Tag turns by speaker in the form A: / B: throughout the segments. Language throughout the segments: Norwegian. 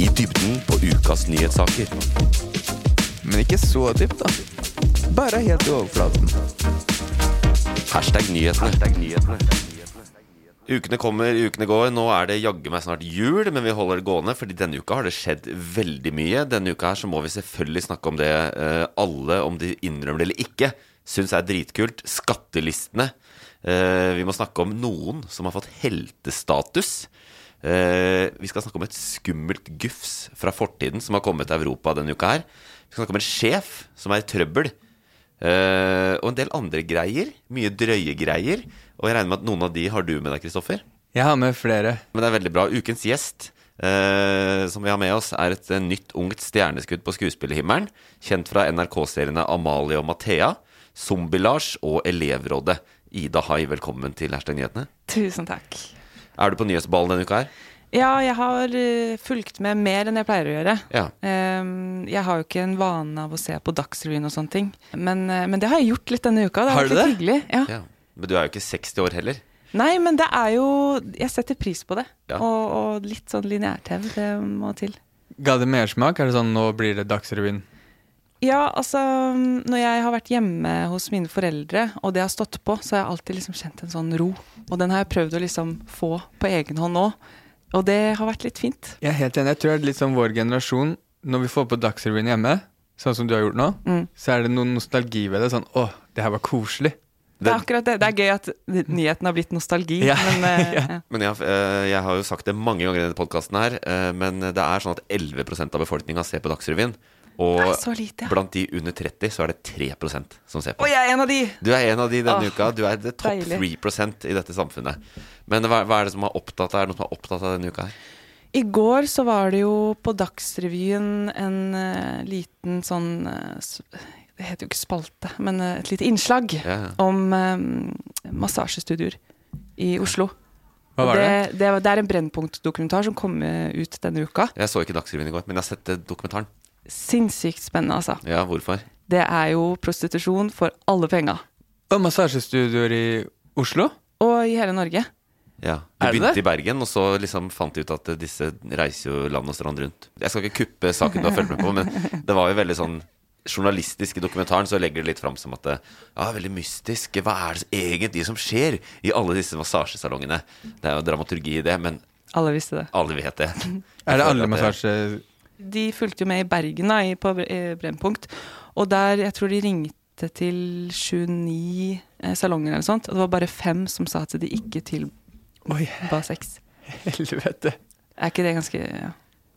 A: I dybden på ukas nyhetssaker.
B: Men ikke så dypt, da. Bare helt i overflaten.
A: Hashtag nyhetene. Ukene kommer, ukene går. Nå er det jaggu meg snart jul, men vi holder det gående, fordi denne uka har det skjedd veldig mye. Denne uka her så må vi selvfølgelig snakke om det eh, alle, om de innrømmer det eller ikke, syns er dritkult. Skattelistene. Eh, vi må snakke om noen som har fått heltestatus. Eh, vi skal snakke om et skummelt gufs fra fortiden som har kommet til Europa denne uka her. Vi skal snakke om en sjef som er i trøbbel. Eh, og en del andre greier. Mye drøye greier. Og jeg regner med at noen av de har du med deg, Kristoffer.
B: Jeg har med flere.
A: Men det er veldig bra. Ukens gjest eh, som vi har med oss, er et eh, nytt ungt stjerneskudd på skuespillerhimmelen. Kjent fra NRK-seriene Amalie og Mathea, Zombie-Lars og Elevrådet. Ida Hai, velkommen til Hashtag nyhetene.
C: Tusen takk.
A: Er du på nyhetsballen denne uka her?
C: Ja, jeg har eh, fulgt med mer enn jeg pleier å gjøre.
A: Ja.
C: Ehm, jeg har jo ikke en vane av å se på Dagsrevyen og sånne ting, men, eh, men det har jeg gjort litt denne uka. Det
B: Har
C: vært
B: du
C: litt
B: det?
C: Hyggelig. Ja.
A: ja. Men du er jo ikke 60 år heller.
C: Nei, men det er jo Jeg setter pris på det.
A: Ja.
C: Og, og litt sånn lineær-TV, det må til.
B: Ga det mersmak? Er det sånn nå blir det Dagsrevyen?
C: Ja, altså Når jeg har vært hjemme hos mine foreldre, og det har stått på, så har jeg alltid liksom kjent en sånn ro. Og den har jeg prøvd å liksom få på egen hånd nå. Og det har vært litt fint.
B: Jeg er helt enig. Jeg tror det er litt sånn vår generasjon. Når vi får på Dagsrevyen hjemme, sånn som du har gjort nå, så er det noen nostalgi ved det. Sånn å, det her var koselig.
C: Det er akkurat det. Det er gøy at nyheten har blitt nostalgi,
B: Ja,
C: men eh,
B: ja.
C: ja.
A: Men jeg, har- eh, jeg har jo sagt det mange ganger i denne podkasten her, eh, men det er sånn at 11 av befolkninga ser på Dagsrevyen. Og
C: Nei, så lite, ja.
A: blant de under 30 så er det 3 som ser på.
C: Og jeg er en av de!
A: Du er en av de denne
C: Åh,
A: uka. Du er the top
C: deilig.
A: 3 i dette samfunnet. Men hva, hva er det som er opptatt av? Er det noe som er opptatt av denne uka her?
C: I går så var det jo på Dagsrevyen en eh, liten sånn eh, s- Det heter jo ikke spalte, men eh, et lite innslag
A: Ja, ja.
C: om eh, massasjestudioer i Oslo.
B: Hva var det?
C: Det, var- det er en Brennpunkt-dokumentar som kom eh, ut denne uka.
A: Jeg så ikke Dagsrevyen i går, men jeg har sett eh, dokumentaren.
C: Sinnssykt spennende, altså.
A: Ja, hvorfor?
C: Det er jo prostitusjon for alle penga.
B: Og massasjestudioer i Oslo?
C: Og i hele Norge.
A: Ja.
B: Er
A: Du
B: det
A: begynte
B: det?
A: i Bergen, og så liksom fant de ut at eh, disse reiser jo land og strand rundt. Jeg skal ikke kuppe saken du har fulgt med på, men det var jo veldig sånn journalistisk i dokumentaren, så legger det litt fram som at det ja, er veldig mystisk. Hva er det egentlig som skjer i alle disse massasjesalongene? Det er jo dramaturgi i det, men
C: Alle visste det.
A: alle vet det.
B: Er det alle
A: massasjer?
B: massasje...
C: De fulgte jo med i Bergen da, i- på Bre- eh, Brennpunkt, og der, jeg tror de ringte til 29 eh, salonger eller sånt, og det var bare fem som sa at de ikke
B: Oi,
C: tilba sex.
B: helvete.
C: Er ikke det ganske ja,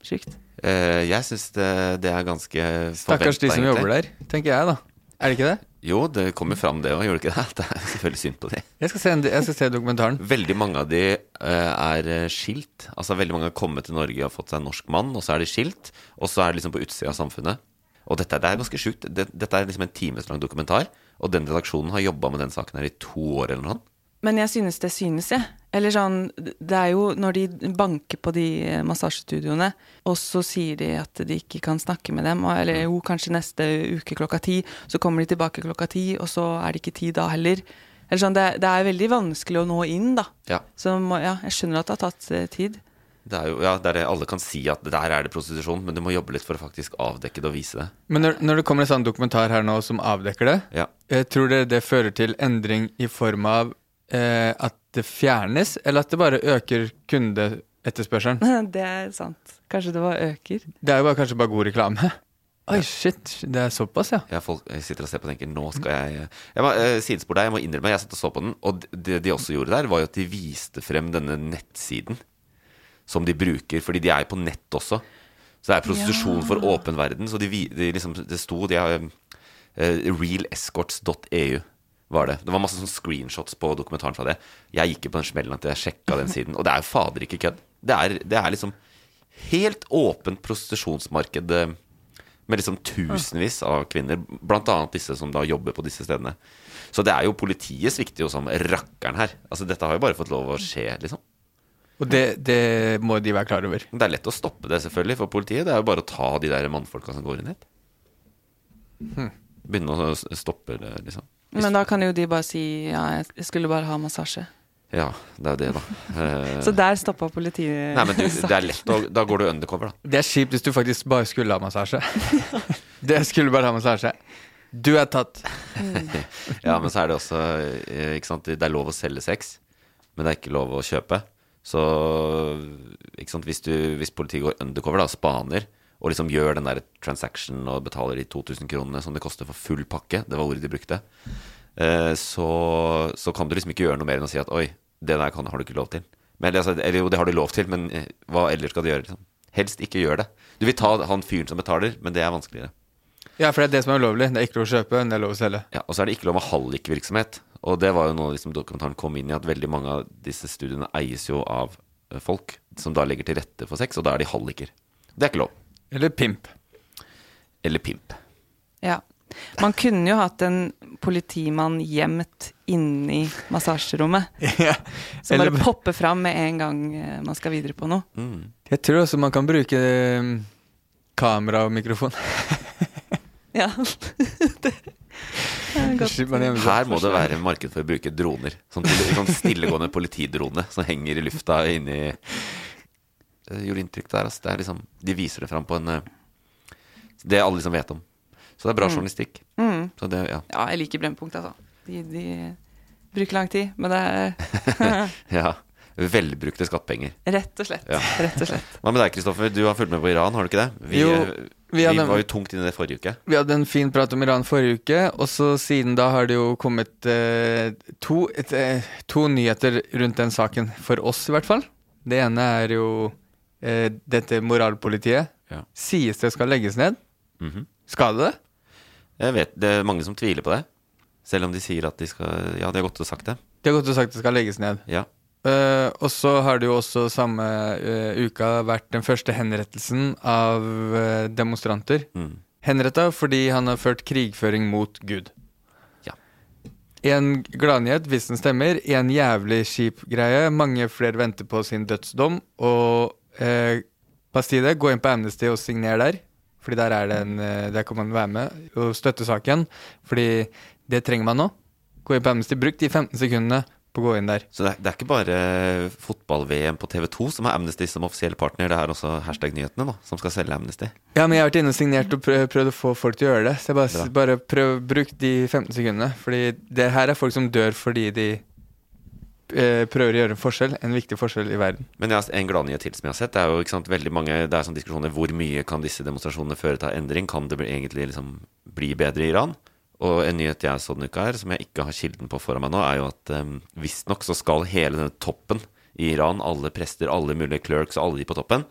C: sykt?
A: Eh, jeg syns det, det er ganske
B: Stakkars de som
A: forventet,
B: jobber der, tenker jeg da. Er det ikke det?
A: Jo, det kommer fram det òg, gjør det ikke det? Det er selvfølgelig synd på de.
B: Jeg skal se, en- jeg skal se dokumentaren.
A: Veldig mange av de eh, er eh, skilt. Altså Veldig mange har kommet til Norge og fått seg en norsk mann, og så er de skilt. Og så er de liksom på utsida av samfunnet. Og dette det er ganske sjukt. Det, dette er liksom en timeslang dokumentar, og den redaksjonen har jobba med den saken her i to år eller noe sånt.
C: Men jeg synes det synes, jeg. Eller sånn, det er jo når de banker på de eh, massasjestudioene, og så sier de at de ikke kan snakke med dem, og- eller jo, kanskje neste uke klokka ti, så kommer de tilbake klokka ti, og så er det ikke ti da heller. Eller sånn, det, det er veldig vanskelig å nå inn, da.
A: Ja.
C: Så må, ja, jeg skjønner at det har tatt eh, tid.
A: Det er jo, ja, det er det alle kan si at der er det prostitusjon, men du må jobbe litt for å faktisk avdekke det og vise det.
B: Men når, når det kommer en sånn dokumentar her nå som avdekker det,
A: Ja.
B: Jeg tror det, det fører til endring i form av eh, at det fjernes, eller at det bare øker kundeetterspørselen?
C: Det er sant. Kanskje det var øker.
B: Det er jo bare, kanskje bare god reklame. Oi, shit. Det er såpass, ja.
A: Ja, folk sitter og ser på og tenker Nå skal jeg Jeg må eh, sidespor deg, jeg må innrømme Jeg satt og så på den, og det de også gjorde der Var jo at de viste frem denne nettsiden Som de bruker, fordi de er jo på nett også Så det er prostitusjon for åpen verden Så de, vi- de liksom, det sto de, har, eh, Realescorts.eu var det Det var masse sånne screenshots på dokumentaren fra det Jeg gikk jo på den smellen at jeg sjekket den siden Og det er jo fader ikke kødd Det er, det er liksom helt åpent prostitusjonsmarked eh, med liksom tusenvis av kvinner, blant annet disse som da jobber på disse stedene. Så det er jo politiet svikter jo som rakkeren her. Altså Dette har jo bare fått lov å skje, liksom.
B: Og det, det må de være klar over.
A: Men Det er lett å stoppe det, selvfølgelig, for politiet. Det er jo bare å ta de der mannfolka som går inn hit. Begynne å s- stoppe det, liksom.
C: Men da kan jo de bare si ja, jeg skulle bare ha massasje.
A: Ja, det er jo det, da. Eh,
C: Så der stoppa politiet.
A: Nei, men du, det er lett å Da går du undercover, da.
B: Det er kjipt hvis du faktisk bare skulle ha massasje. det skulle bare ha massasje. Du er tatt.
A: Ja, men så er det også eh, ikke sant? Det er lov å selge sex, men det er ikke lov å kjøpe. Så ikke sant? Hvis, du, hvis politiet går undercover da, og spaner, og liksom gjør den der transaction og betaler de 2000 kronene som det koster for full pakke, det var ordet de brukte, eh, så, så kan du liksom ikke gjøre noe mer enn å si at oi, det der kan, har du ikke lov til. Men, eller, altså, eller jo, det har du lov til, men eh, hva ellers skal du gjøre? Liksom? Helst ikke gjør det. Du vil ta han fyren som betaler, men det er vanskeligere.
B: Ja, for det er det som er ulovlig. Det er ikke lov å kjøpe, men det er lov å selge.
A: Ja, og så er det ikke lov med hallikvirksomhet. Og det var jo noe liksom, dokumentaren kom inn i, at veldig mange av disse studiene eies jo av eh, folk som da legger til rette for sex, og da er de halliker. Det er ikke lov.
B: Eller pimp.
A: Eller pimp.
C: Ja. Man kunne jo hatt en politimann gjemt inni massasjerommet. Som
B: Eller-
C: bare popper fram med en gang eh, man skal videre på noe.
B: Jeg tror også man kan bruke eh, kamera og mikrofon.
C: Ja. Det er godt.
B: Slipper man hjemme.
A: Her må det være marked for å bruke droner. Sånn til- sånn stillegående politidrone som henger i lufta inni Det gjorde inntrykk der, altså. Det er liksom, de viser det fram på en eh, Det alle liksom vet om. Så det er bra journalistikk. Så det, ja.
C: Mm. Ja, jeg liker Brennpunkt, altså. De, de bruker lang tid, men det er
A: ja. Velbrukte skattepenger.
C: rett og slett.
A: Ja.
C: Rett og slett.
A: Hva med deg, Kristoffer? Du har fulgt med på Iran, har du ikke det? Vi,
B: Jo,
A: eh,
B: vi
A: vi,
B: har nevnt-
A: var jo tungt inne i det forrige uke.
B: Vi hadde en fin prat om Iran forrige uke, og så siden da har det jo kommet eh, to, et, eh, to nyheter rundt den saken, for oss i hvert fall. Det ene er jo eh, dette moralpolitiet.
A: Ja.
B: Sies det skal legges ned.
A: Mhm.
B: Skal det det?
A: Jeg vet, Det er mange som tviler på det. Selv om de sier at de skal Ja, de har godt og sagt det.
B: De har godt og sagt det skal legges ned.
A: Ja.
B: Eh, og så har det jo også samme eh, uka vært den første henrettelsen av eh, demonstranter.
A: Mm.
B: Henretta fordi han har ført krigføring mot Gud.
A: Ja.
B: En gladnyhet, hvis den stemmer. En jævlig kjip greie. Mange flere venter på sin dødsdom. Og eh, Bastide, gå inn på Amnesty og signer der. Fordi der, er det en, eh, der kan man være med og støtte saken. Fordi det trenger man nå. Gå inn på Amnesty. Bruk de 15 sekundene på å gå inn der.
A: Så det er, det er ikke bare eh, fotball-VM på TV2 som har Amnesty som offisiell partner. Det er også hashtag-nyhetene da, som skal selge Amnesty.
B: Ja, men jeg har vært inne og signert og prøvd, prøvd å få folk til å gjøre det. Så jeg bare,
A: Bra.
B: bare prøv, bruk de 15 sekundene. Fordi det her er folk som dør fordi de eh, prøver å gjøre en forskjell, en viktig forskjell i verden.
A: Men jeg har en gladnyhet til som jeg har sett. Det er jo ikke sant, veldig mange Det er sånn diskusjoner hvor mye kan disse demonstrasjonene føre til endring? Kan det bli, egentlig liksom bli bedre i Iran? Og en nyhet jeg så denne uka her, som jeg ikke har kilden på foran meg nå, er jo at um, visstnok så skal hele denne toppen i Iran, alle prester, alle mulige clerks og alle de på toppen,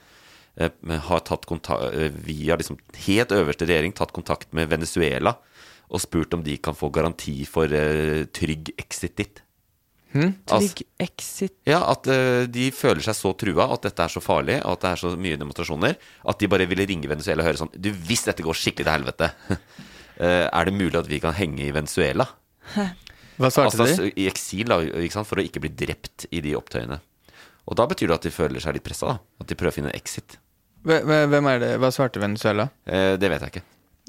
A: eh, har tatt konta- eh, via liksom helt øverste regjering tatt kontakt med Venezuela og spurt om de kan få garanti for eh, trygg exit dit. Altså-
C: Trygg exit.
A: ja, at eh, de føler seg så trua, at dette er så farlig, og at det er så mye demonstrasjoner, at de bare ville ringe Venezuela og høre sånn Du, hvis dette går skikkelig til helvete, eh, er det mulig at vi kan henge i Venezuela?
B: Hva svarte
A: Altså
B: de?
A: i eksil, da, ikke sant, for å ikke bli drept i de opptøyene. Og da betyr det at de føler seg litt pressa, da. At de prøver å finne en exit.
B: Hve- hve- Hvem er det? Hva svarte Venezuela?
A: Eh, det vet jeg ikke.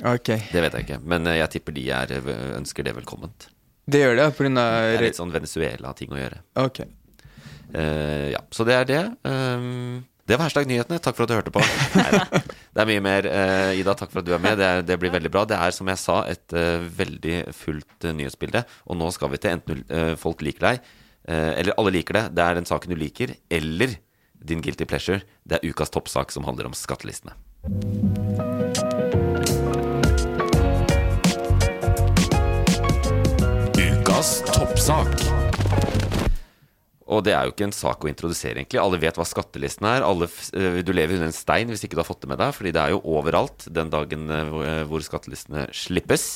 B: Ok,
A: Det vet jeg ikke. Men eh, jeg tipper de er, ønsker det velkomment.
B: det gjør det, på grunn
A: Det
B: av
A: er litt sånn Venezuela-ting å gjøre.
B: Ok.
A: Eh, ja, så det er det. Ehm, det var hashtag nyhetene. Takk for at du hørte på. Neida. Det er mye mer. eh, Ida, takk for at du er med. Det, er, det blir veldig bra. Det er, som jeg sa, et eh, veldig fullt eh, nyhetsbilde. Og nå skal vi til enten eh, folk liker deg, eh, eller alle liker det, det er den saken du liker, eller din guilty pleasure, det er ukas toppsak som handler om skattelistene.
D: Ukas toppsak.
A: Og det er jo ikke en sak å introdusere, egentlig. Alle vet hva skattelisten er. Alle, f- eh, du lever under en stein hvis ikke du har fått det med deg, fordi det er jo overalt den dagen eh, hvor- eh, hvor skattelistene slippes.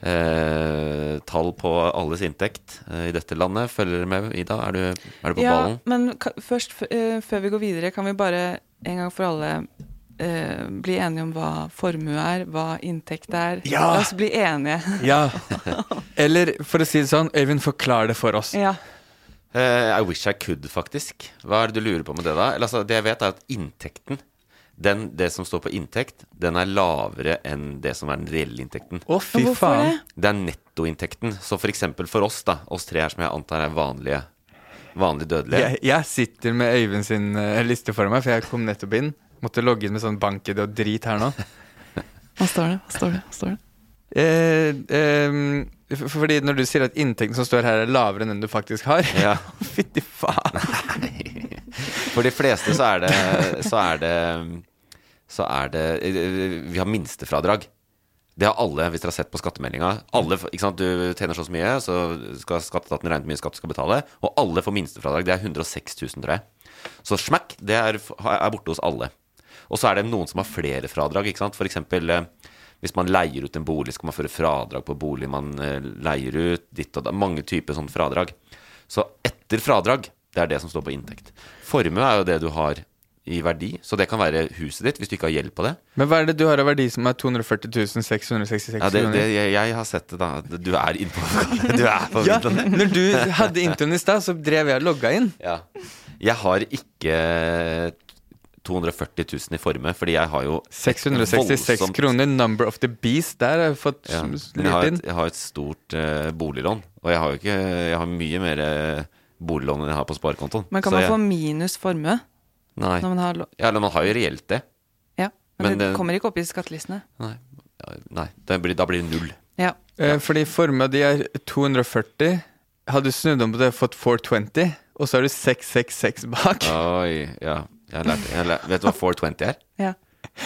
A: Eh, tall på alles inntekt eh, i dette landet følger med, Ida. Er du, er du på
C: ja,
A: ballen?
C: Men ka- først, f- eh, før vi går videre, kan vi bare en gang for alle eh, bli enige om hva formue er, hva inntekt er.
B: Ja!
C: La oss bli enige.
B: Ja. Eller for å si det sånn, Øyvind, forklar det for oss.
C: ja.
A: Eh, I wish I could, faktisk. Hva er det du lurer på med det, da? Eller, altså, det jeg vet, er at inntekten, den, det som står på inntekt, den er lavere enn det som er den reelle inntekten.
B: Å, fy
C: Hvorfor
B: faen.
A: Det er nettoinntekten. Så for eksempel for oss, da, oss tre her som jeg antar er vanlige, vanlige dødelige.
B: Jeg, jeg sitter med Øyvind sin eh, liste for meg, for jeg kom nettopp inn. Måtte logge inn med sånn bank-ID og drit her nå.
C: Hva står det? Hva står det? Hva står det?
B: Eh, ehm, f- fordi når du sier at inntekten som står her er lavere enn den du faktisk har
A: Ja.
B: Fytti faen.
A: For de fleste så er det Så er det, så er det eh, Vi har minstefradrag. Det har alle, hvis dere har sett på skattemeldinga. Alle, ikke sant, Du tjener så og så mye, så skal skatteetaten regne ut hvor mye skatt du skal betale. Og alle får minstefradrag. Det er 106 000, tror jeg. Så smakk, det er, er borte hos alle. Og så er det noen som har flere fradrag. ikke sant? For eksempel, eh, hvis man leier ut en bolig, skal man føre fradrag på bolig man eh, leier ut. ditt og da, Mange typer sånne fradrag. Så etter fradrag, det er det som står på inntekt. Formue er jo det du har i verdi, så det kan være huset ditt, hvis du ikke har gjeld på det.
B: Men hva er det du har av verdi som er 240 666
A: Ja, det, det
B: kroner?
A: jeg, jeg har sett det, da. Du er inne på Du er på
B: Ja,
A: midlene.
B: når du hadde introen i stad, så drev jeg og logga inn.
A: Ja. Jeg har ikke 240 000 i formue, fordi jeg har jo et
B: 666
A: voldsomt-
B: kroner, number of the beast. Der har jeg fått
A: Ja,
B: ja,
A: men jeg, har et,
B: litt inn.
A: jeg har et stort eh, boliglån, og jeg har jo ikke Jeg har mye mer eh, boliglån enn jeg har på sparekontoen.
C: Men kan
A: Så
C: man
A: jeg,
C: få minus formue
A: Nei.
C: når man har lå-
A: Ja, eller man har jo reelt det.
C: Ja. Men,
A: Men
C: det
A: det-
C: kommer ikke opp i skattelistene.
A: Nei. Ja, nei. Da, blir, da blir det null.
C: Ja.
B: Eh, Fordi formua di er 240. Hadde du snudd om på det, fått 420, og så har du 666 bak.
A: Oi, ja. Jeg lærte, jeg lær- vet du hva 420 er?
C: ja.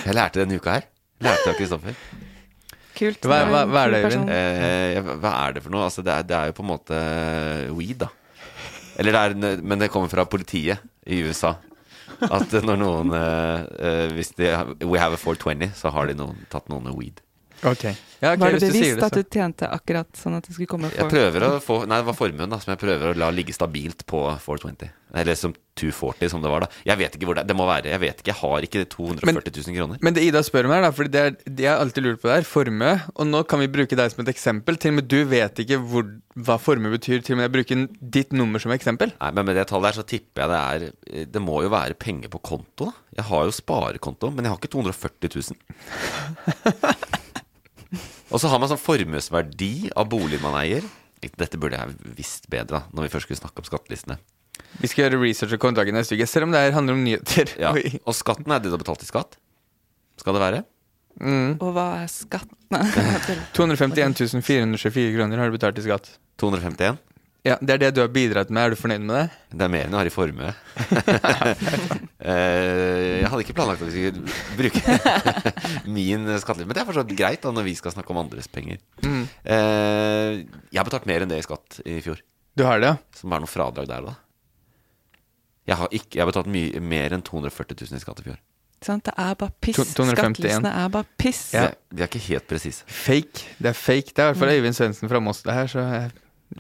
A: Jeg lærte denne uka her. Lærte av Kristoffer.
C: Kult.
B: Hva-
C: Du en
B: hva- hva er
C: kul
B: det,
C: person.
B: Øyvind?
A: Eh, jeg- hva er det for noe? Altså, det, er, det er jo på en måte weed, da. Eller det er, en- men det kommer fra politiet i USA. At eh, når noen eh, eh, Hvis de har- We have a 420, så har de noen, tatt noen med weed.
B: Ok. Ja, ok,
C: Var
B: hvis
C: det
B: du sier
C: bevisst
B: det,
C: at du tjente akkurat sånn at det skulle komme
A: Jeg prøver å få Nei, det var formuen, da, som jeg prøver å la ligge stabilt på 420. Eller som 240, som det var, da. Jeg vet ikke hvor det er. Det må være Jeg vet ikke. Jeg har ikke 240 000 kroner.
B: Men det Ida spør om her, da, for det er det jeg alltid lurer på der, formue. Og nå kan vi bruke deg som et eksempel. Til og med du vet ikke hvor, hva formue betyr. Til og med jeg bruker ditt nummer som eksempel.
A: Nei, men med det tallet der så tipper jeg det er Det må jo være penger på konto, da. Jeg har jo sparekonto, men jeg har ikke 240 000. Og så har man sånn formuesverdi av boligen man eier. Dette burde jeg visst bedre da, når vi først skulle snakke om skattelistene.
B: Vi skal gjøre research og kontakte neste uke, selv om det her handler om nyheter.
A: Ja.
B: Oi.
A: Og skatten er det du har betalt i skatt. Skal det være?
C: Og hva er skatt? Nei, jeg tuller.
B: 251 424 kroner har du betalt i skatt.
A: 251?
B: Ja, Det er det du har bidratt med. Er du fornøyd med det?
A: Det er mer enn jeg har i formue. Eh, jeg hadde ikke planlagt at vi skulle bruke min skatteliste, men det er fortsatt greit da når vi skal snakke om andres penger.
B: Mm.
A: Eh, jeg har betalt mer enn det i skatt i fjor,
B: Du har det, ja?
A: som er noe fradrag der da. Jeg har, ikke, jeg har betalt mye, mer enn 240 000 i skatt i fjor.
C: Sant? Det er bare piss.
B: To- 251.
C: Skattelistene er bare piss.
A: Så jeg- Vi er ikke helt presise.
B: Fake. Det er fake. Det er i hvert fall Øyvind Svendsen fra Moss, det her. Så jeg...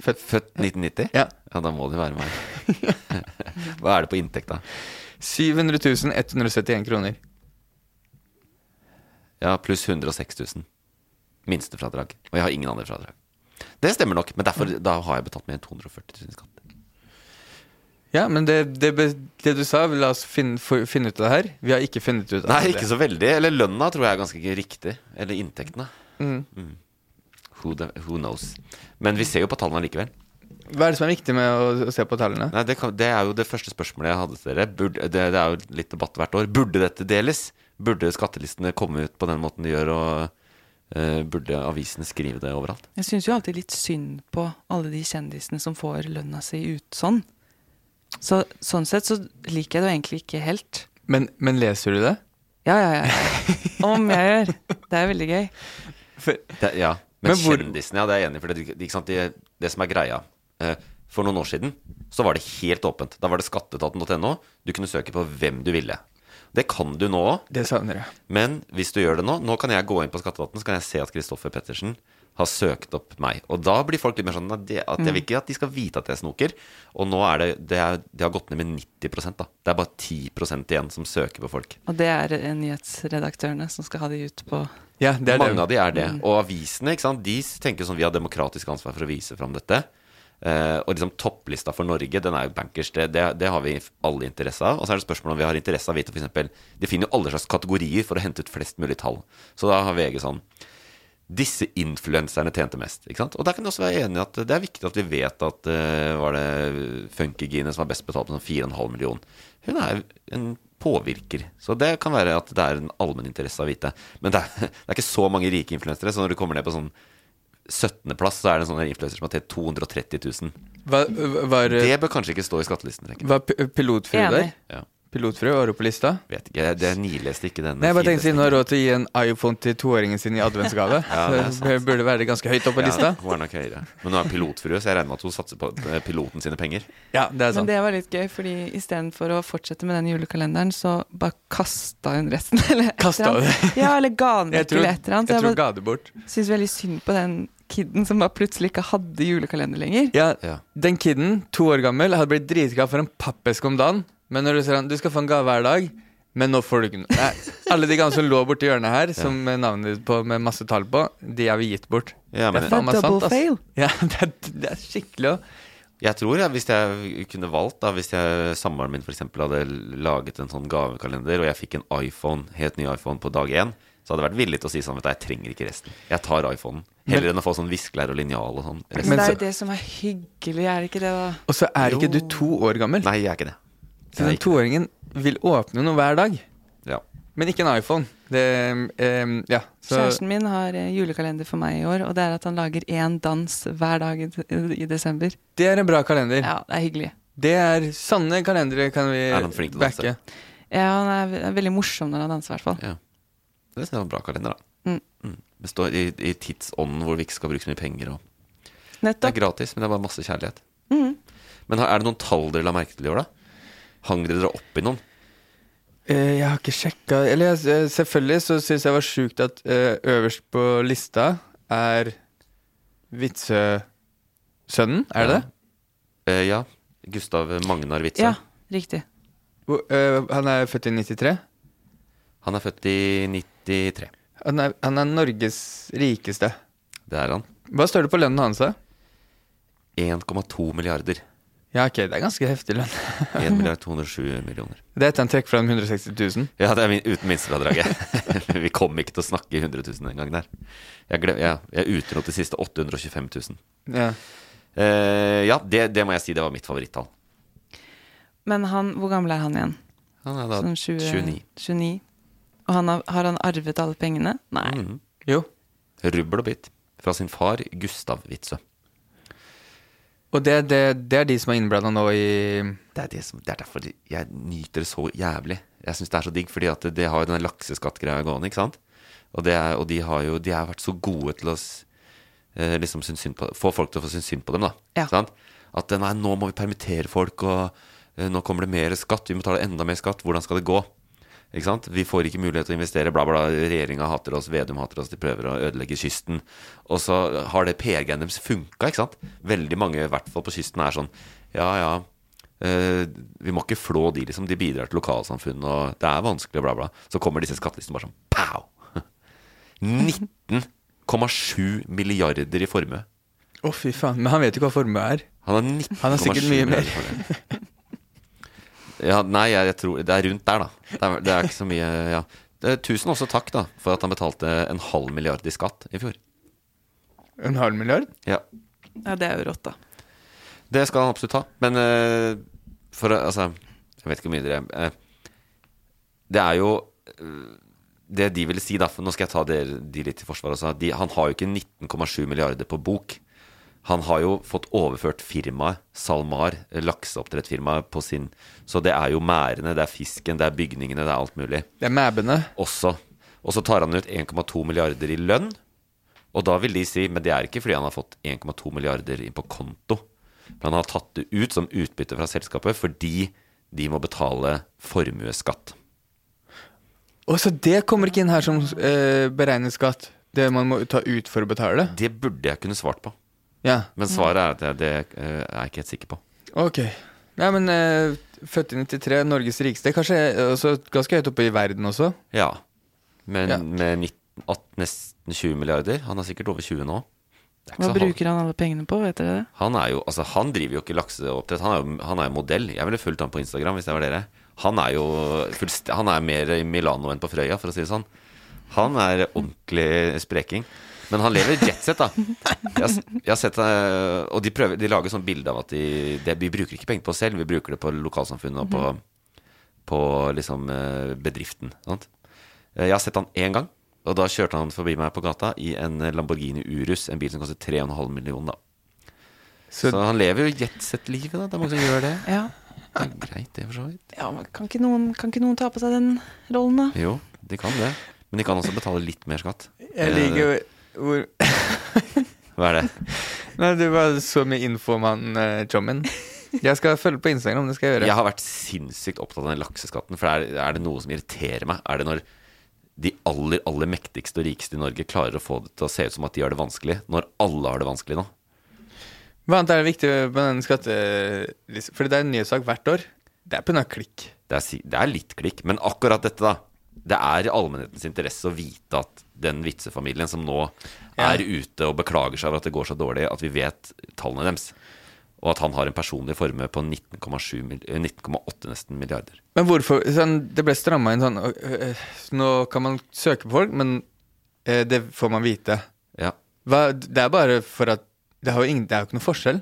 B: Født.
A: Født 1990?
B: Ja.
A: Ja, da må det være meg. Hva er det på inntekt, da?
B: 700 171 kroner.
A: Ja, pluss 106 000. Minstefradrag. Og jeg har ingen andre fradrag. Det stemmer nok, men derfor da har jeg betalt mer enn 240 000 i skatt.
B: Ja, men det, det, be- det du sa, la oss finne, få- finne ut av det her. Vi har ikke funnet ut av
A: Nei,
B: det.
A: ikke så veldig. Eller lønna tror jeg er ganske ikke riktig. Eller inntektene. Mm. Who, the, who knows. Men vi ser jo på tallene likevel.
B: Hva er det som er viktig med å, å se på tallene?
A: Nei, det, kan, det er jo det første spørsmålet jeg hadde til dere. Burde, det, det er jo litt debatt hvert år. Burde dette deles? Burde skattelistene komme ut på den måten de gjør, og eh, burde avisene skrive det overalt?
C: Jeg syns jo alltid litt synd på alle de kjendisene som får lønna si ut sånn. Så, sånn sett så liker jeg det jo egentlig ikke helt.
B: Men, men leser du det?
C: Ja, ja, ja. Om jeg gjør. Det er veldig gøy.
A: Det, ja. Men,
B: Men hvor-
A: kjendisene, ja, det er jeg enig i. For det, ikke sant, det, det som er greia eh, For noen år siden så var det helt åpent. Da var det skatteetaten.no. Du kunne søke på hvem du ville. Det kan du nå òg.
B: Det savner jeg.
A: Men hvis du gjør det nå Nå kan jeg gå inn på skatteetaten Så kan jeg se at Kristoffer Pettersen har søkt opp meg. Og da blir folk litt mer sånn at, det, at
B: Mm.
A: jeg vil ikke at de skal vite at jeg snoker. Og nå er det Det, er, det har gått ned med 90 da. Det er bare 10 igjen som søker på folk.
C: Og det er eh, nyhetsredaktørene som skal ha de ut på
B: Ja, det Mm. er
A: Mange
B: det.
A: av de er det. Og avisene ikke sant? De tenker sånn vi har demokratisk ansvar for å vise fram dette. Eh, og liksom topplista for Norge, den er jo bankers. Det, det, det har vi alle interesse av. Og så er det spørsmålet om vi har interesse av å vite for eksempel, De finner jo alle slags kategorier for å hente ut flest mulig tall. Så da har VG sånn Disse influenserne tjente mest. Ikke sant? Og der kan du også være enig i at det er viktig at vi vet at eh, var det Funkygine som var best betalt med sånn 4,5 million. Hun er en påvirker. Så det kan være at det er en allmenn interesse å vite. Men det er, det er ikke så mange rike influensere, så når du kommer ned på sånn 17.-plass, så er det en sånn influenser som har tjent 230 000.
B: Hva, var,
A: Det bør kanskje ikke stå i skattelisten. tenker jeg.
B: var p- pilotfru der?
C: Enig.
A: Ja,
B: Pilotfru var du på lista?
A: vet ikke. Jeg- Det jeg nileste ikke den.
B: Nei, jeg bare
A: finleste.
B: tenkte siden hun har råd til å gi en iPhone til toåringen sin i adventsgave.
A: det er
B: så det burde være ganske høyt oppe på lista.
A: Ja, hun er nok høyere. Men hun er pilotfrue, så jeg regner med at hun satser på eh, piloten sine penger.
B: Ja, det er
C: Men
B: sant.
C: det var litt gøy, fordi istedenfor å fortsette med den julekalenderen, så bare kasta hun resten. Eller et
B: Kasta
C: eller annet. Ja, eller ga den
B: Jeg
C: vekk
B: tror,
C: eller et eller
B: jeg
C: annet. Så
B: tror
C: jeg bare
B: ga det bort.
C: syns veldig synd på den kiden som bare plutselig ikke hadde julekalender lenger.
B: Ja,
A: Ja.
B: Den kiden, to år gammel, hadde blitt dritglad for en pappeske om dagen. Men når du ser han, du skal få en gave hver dag, men nå får du ikke noe. Nei, alle de gamle som lå borti hjørnet her, som med navnet ditt på, med masse tall på, de har vi gitt bort.
A: Ja, men-
B: det er faen meg sant,
C: Double
B: ass.
C: fail.
B: Ja, det er, det er skikkelig å
A: Jeg tror jeg, hvis jeg kunne valgt, da, hvis jeg, samboeren min for eksempel hadde laget en sånn gavekalender, og jeg fikk en iPhone, helt ny iPhone på dag én, så hadde jeg vært villig til å si sånn vet du, jeg trenger ikke resten. Jeg tar iPhonen. Heller enn å få sånn viskelær og linjal og sånn.
C: Men,
A: Resten.
C: det er
B: så-
C: jo det som er hyggelig, er det ikke det, da?
B: Og så er ikke du to år gammel.
A: Nei, jeg er ikke det.
B: så den
A: jeg-
B: toåringen vil åpne noe hver dag.
A: Ja.
B: Men ikke en iPhone. Det, em, ja, så
C: Kjæresten min har eh, julekalender for meg i år, og det er at han lager én dans hver dag i, i desember.
B: det er en bra kalender.
C: Ja, det er hyggelig.
B: Det er sanne kalendere kan vi
A: Er han flink til å danse?
B: backe.
C: Ja, han er ve- er veldig morsom når han danser, i hvert fall.
A: ja. Det synes jeg var en bra kalender, da.
C: Mm.
A: Mm. Det står i, i tidsånden hvor vi ikke skal bruke så mye penger. Og. Det er
C: Nettopp.
A: gratis, men det er bare masse kjærlighet.
C: Mm.
A: Men har- er det noen tall dere la merke til i år, da? Hang dere dere opp i noen?
B: Eh, jeg har ikke sjekka Eller jeg, eh, selvfølgelig så syns jeg var sjukt at eh, øverst på lista er Vitsø-sønnen, er det det?
A: Eh, ja. Gustav Magnar Witzøe.
C: Ja, riktig.
B: Hvor- eh, han er født i 93.
A: Han er født i 93.
B: Han er, han er Norges rikeste.
A: Det er han.
B: Hva står det på lønnen hans, da?
A: 1,2 milliarder.
B: Ja, ok, det er ganske heftig lønn.
A: 1 milliard 207 millioner.
B: Det er etter han trekker fra de 160 000.
A: Ja, det er min, uten minstefradraget. Vi kom ikke til å snakke i 100 000 den gangen der. Jeg, glem, jeg, jeg utelot de siste 825 000.
B: Ja.
A: Eh, ja, det, det må jeg si det var mitt favorittall.
C: Men han, hvor gammel er han igjen?
A: Han er da
C: Sånn 20,
A: 29.
C: 29. Og han har, har han arvet alle pengene? Nei.
A: Mhm.
B: Jo.
A: Rubbel og bit fra sin far Gustav Witzøe.
B: Og det, det, det er de som er innblanda nå i
A: Det er, det, som, det er derfor jeg nyter det så jævlig. Jeg syns det er så digg, fordi at det, det har jo den lakseskattgreia gående, ikke sant? Og, det er, og de har jo de har vært så gode til å s- eh, liksom synes synd på, få folk til å få synes synd på dem, da.
C: Ja.
A: Sant? At eh, nei, nå må vi permittere folk, og eh, nå kommer det mer skatt, vi må betale enda mer skatt, hvordan skal det gå? Ikke sant? Vi får ikke mulighet til å investere, bla, bla, regjeringa hater oss, Vedum hater oss, de prøver å ødelegge kysten. Og så har det PR-greien deres funka, ikke sant? Veldig mange, i hvert fall på kysten, er sånn ja, ja, eh, vi må ikke flå de, liksom. De bidrar til lokalsamfunn, og det er vanskelig, og bla, bla. Så kommer disse skattelistene bare sånn pow! 19,7 milliarder i formue.
B: Å, fy faen. Men han vet jo ikke hva formue er.
A: Han har 19,7
B: Han har sikkert mye mer.
A: milliarder for det. Ja, nei, jeg, jeg tror Det er rundt der, da. Det er, det er ikke så mye ja. Eh, Tusen også takk da for at han betalte en halv milliard i skatt i fjor.
B: En halv milliard?
A: Ja,
C: Ja, det er jo rått, da.
A: Det skal han absolutt ha. Men eh, for å- altså Jeg vet ikke hvor mye dere eh, Det er jo eh, det de ville si, da, for nå skal jeg ta dere, de litt til forsvar også de, Han har jo ikke 19,7 milliarder på bok. Han har jo fått overført firmaet, SalMar, eh, lakseoppdrettsfirmaet, på sin Så det er jo merdene, det er fisken, det er bygningene, det er alt mulig
B: Det er mæbene.
A: også. Og så tar han ut 1,2 milliarder i lønn. Og da vil de si, men det er ikke fordi han har fått 1,2 milliarder inn på konto. Men han har tatt det ut som utbytte fra selskapet fordi de må betale formuesskatt.
B: Å, så det kommer ikke inn her som eh, beregnet skatt? Det man må ta ut for å betale?
A: Det burde jeg kunne svart på,
B: Ja,
A: men svaret er at jeg- det eh, er jeg ikke helt sikker på.
B: ok. Nei, men eh, født i 93, Norges rikeste. Kanskje eh, også ganske høyt oppe i verden også.
A: Ja, men
B: Ja.
A: med 19, at- nesten 20 milliarder Han er sikkert over 20 nå. Det er ikke
C: Hva
A: så han-
C: bruker han alle pengene på, vet dere det?
A: Han er jo, altså han driver jo ikke lakseoppdrett, han er jo, han er jo modell. Jeg ville fulgt han på Instagram hvis jeg var dere. Han er jo fullst, han er mer i Milano enn på Frøya, for å si det sånn. Han er ordentlig spreking. Men han lever jetset, da. Jeg, har s- jeg har sett, eh, og de, prøver, de lager sånn bilde av at de, det- vi bruker ikke penger på oss selv, vi bruker det på lokalsamfunnet og på, på liksom eh, bedriften. Sant? Eh, Jeg har sett han én gang, og da kjørte han forbi meg på gata i en Lamborghini Urus, en bil som koster 3,5 millioner, da. Så,
B: Så-
A: han lever jo jetset-livet, da. Det er mange som gjør det.
C: Ja.
A: Det er greit, det, for så vidt.
C: ja men kan, ikke noen, kan ikke noen ta på seg den rollen, da?
A: Jo, de kan det. Men de kan også betale litt mer skatt. Eh,
B: Jeg liker jo hvor
A: Hva er det?
B: Nei, det var så mye info om han eh, Chommin. Jeg skal følge på Instagram, det skal jeg gjøre.
A: Jeg har vært sinnssykt opptatt av den lakseskatten, for er, er det noe som irriterer meg, er det når de aller, aller mektigste og rikeste i Norge klarer å få det til å se ut som at de har det vanskelig, når alle har det vanskelig nå.
B: Hva annet er det viktig med den skattelisten? Fordi det er en nyhetssak hvert år. Det er på noe klikk.
A: Det er, si- det er litt klikk, men akkurat dette, da. Det er i allmennhetens interesse å vite at den vitsefamilien som nå er ute og beklager seg over at det går så dårlig, at vi vet tallene deres. Og at han har en personlig formue på 19,7 mil- eh, 19,8 nesten milliarder.
B: Men hvorfor sånn, Det ble stramma inn sånn øh, øh, Nå kan man søke på folk, men øh, det får man vite.
A: Ja.
B: Hva, det er bare for at Det, har jo ingen, det er jo ikke noe forskjell.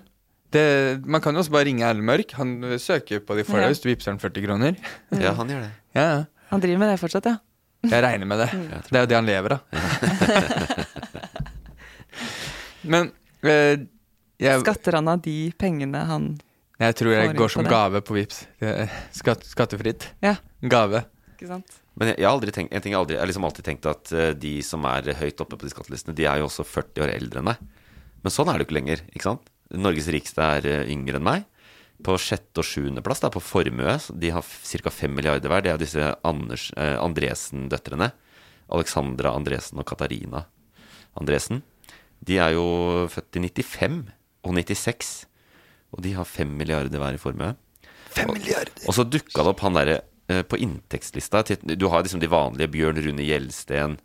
B: Det, man kan jo også bare ringe Erlend Mørk. Han øh, søker på de for
C: Ja.
B: deg hvis du vippser han 40 kroner.
A: ja, han gjør det.
B: Ja, ja.
C: Han driver med det fortsatt, ja.
B: Jeg regner med det.
C: Mm.
B: Det er jo det han lever av. Men øh, jeg,
C: Skatter han av de pengene han
B: jeg tror
C: får
B: jeg
C: inn
B: går som
C: på det.
B: gave på Vipps. Det er Skatt, skattefritt.
C: Ja,
B: Gave.
C: ikke sant?
A: Men jeg, jeg har aldri tenkt, en ting jeg, aldri, jeg har liksom alltid tenkt at eh, de som er høyt oppe på de skattelistene, de er jo også 40 år eldre enn deg. Men sånn er det jo ikke lenger, ikke sant? Norges rikeste er eh, yngre enn meg. På sjette og sjuende plass, da, på formue, så de har ca. 5 milliarder hver. Det er disse Anders, eh, Andresen-døtrene. Alexandra Andresen og Katarina Andresen. De er jo født i 95 og 96, og de har 5 milliarder hver i formue. Og så dukka det opp han derre eh, på inntektslista. til- Du har liksom de vanlige Bjørn Rune Gjelsten,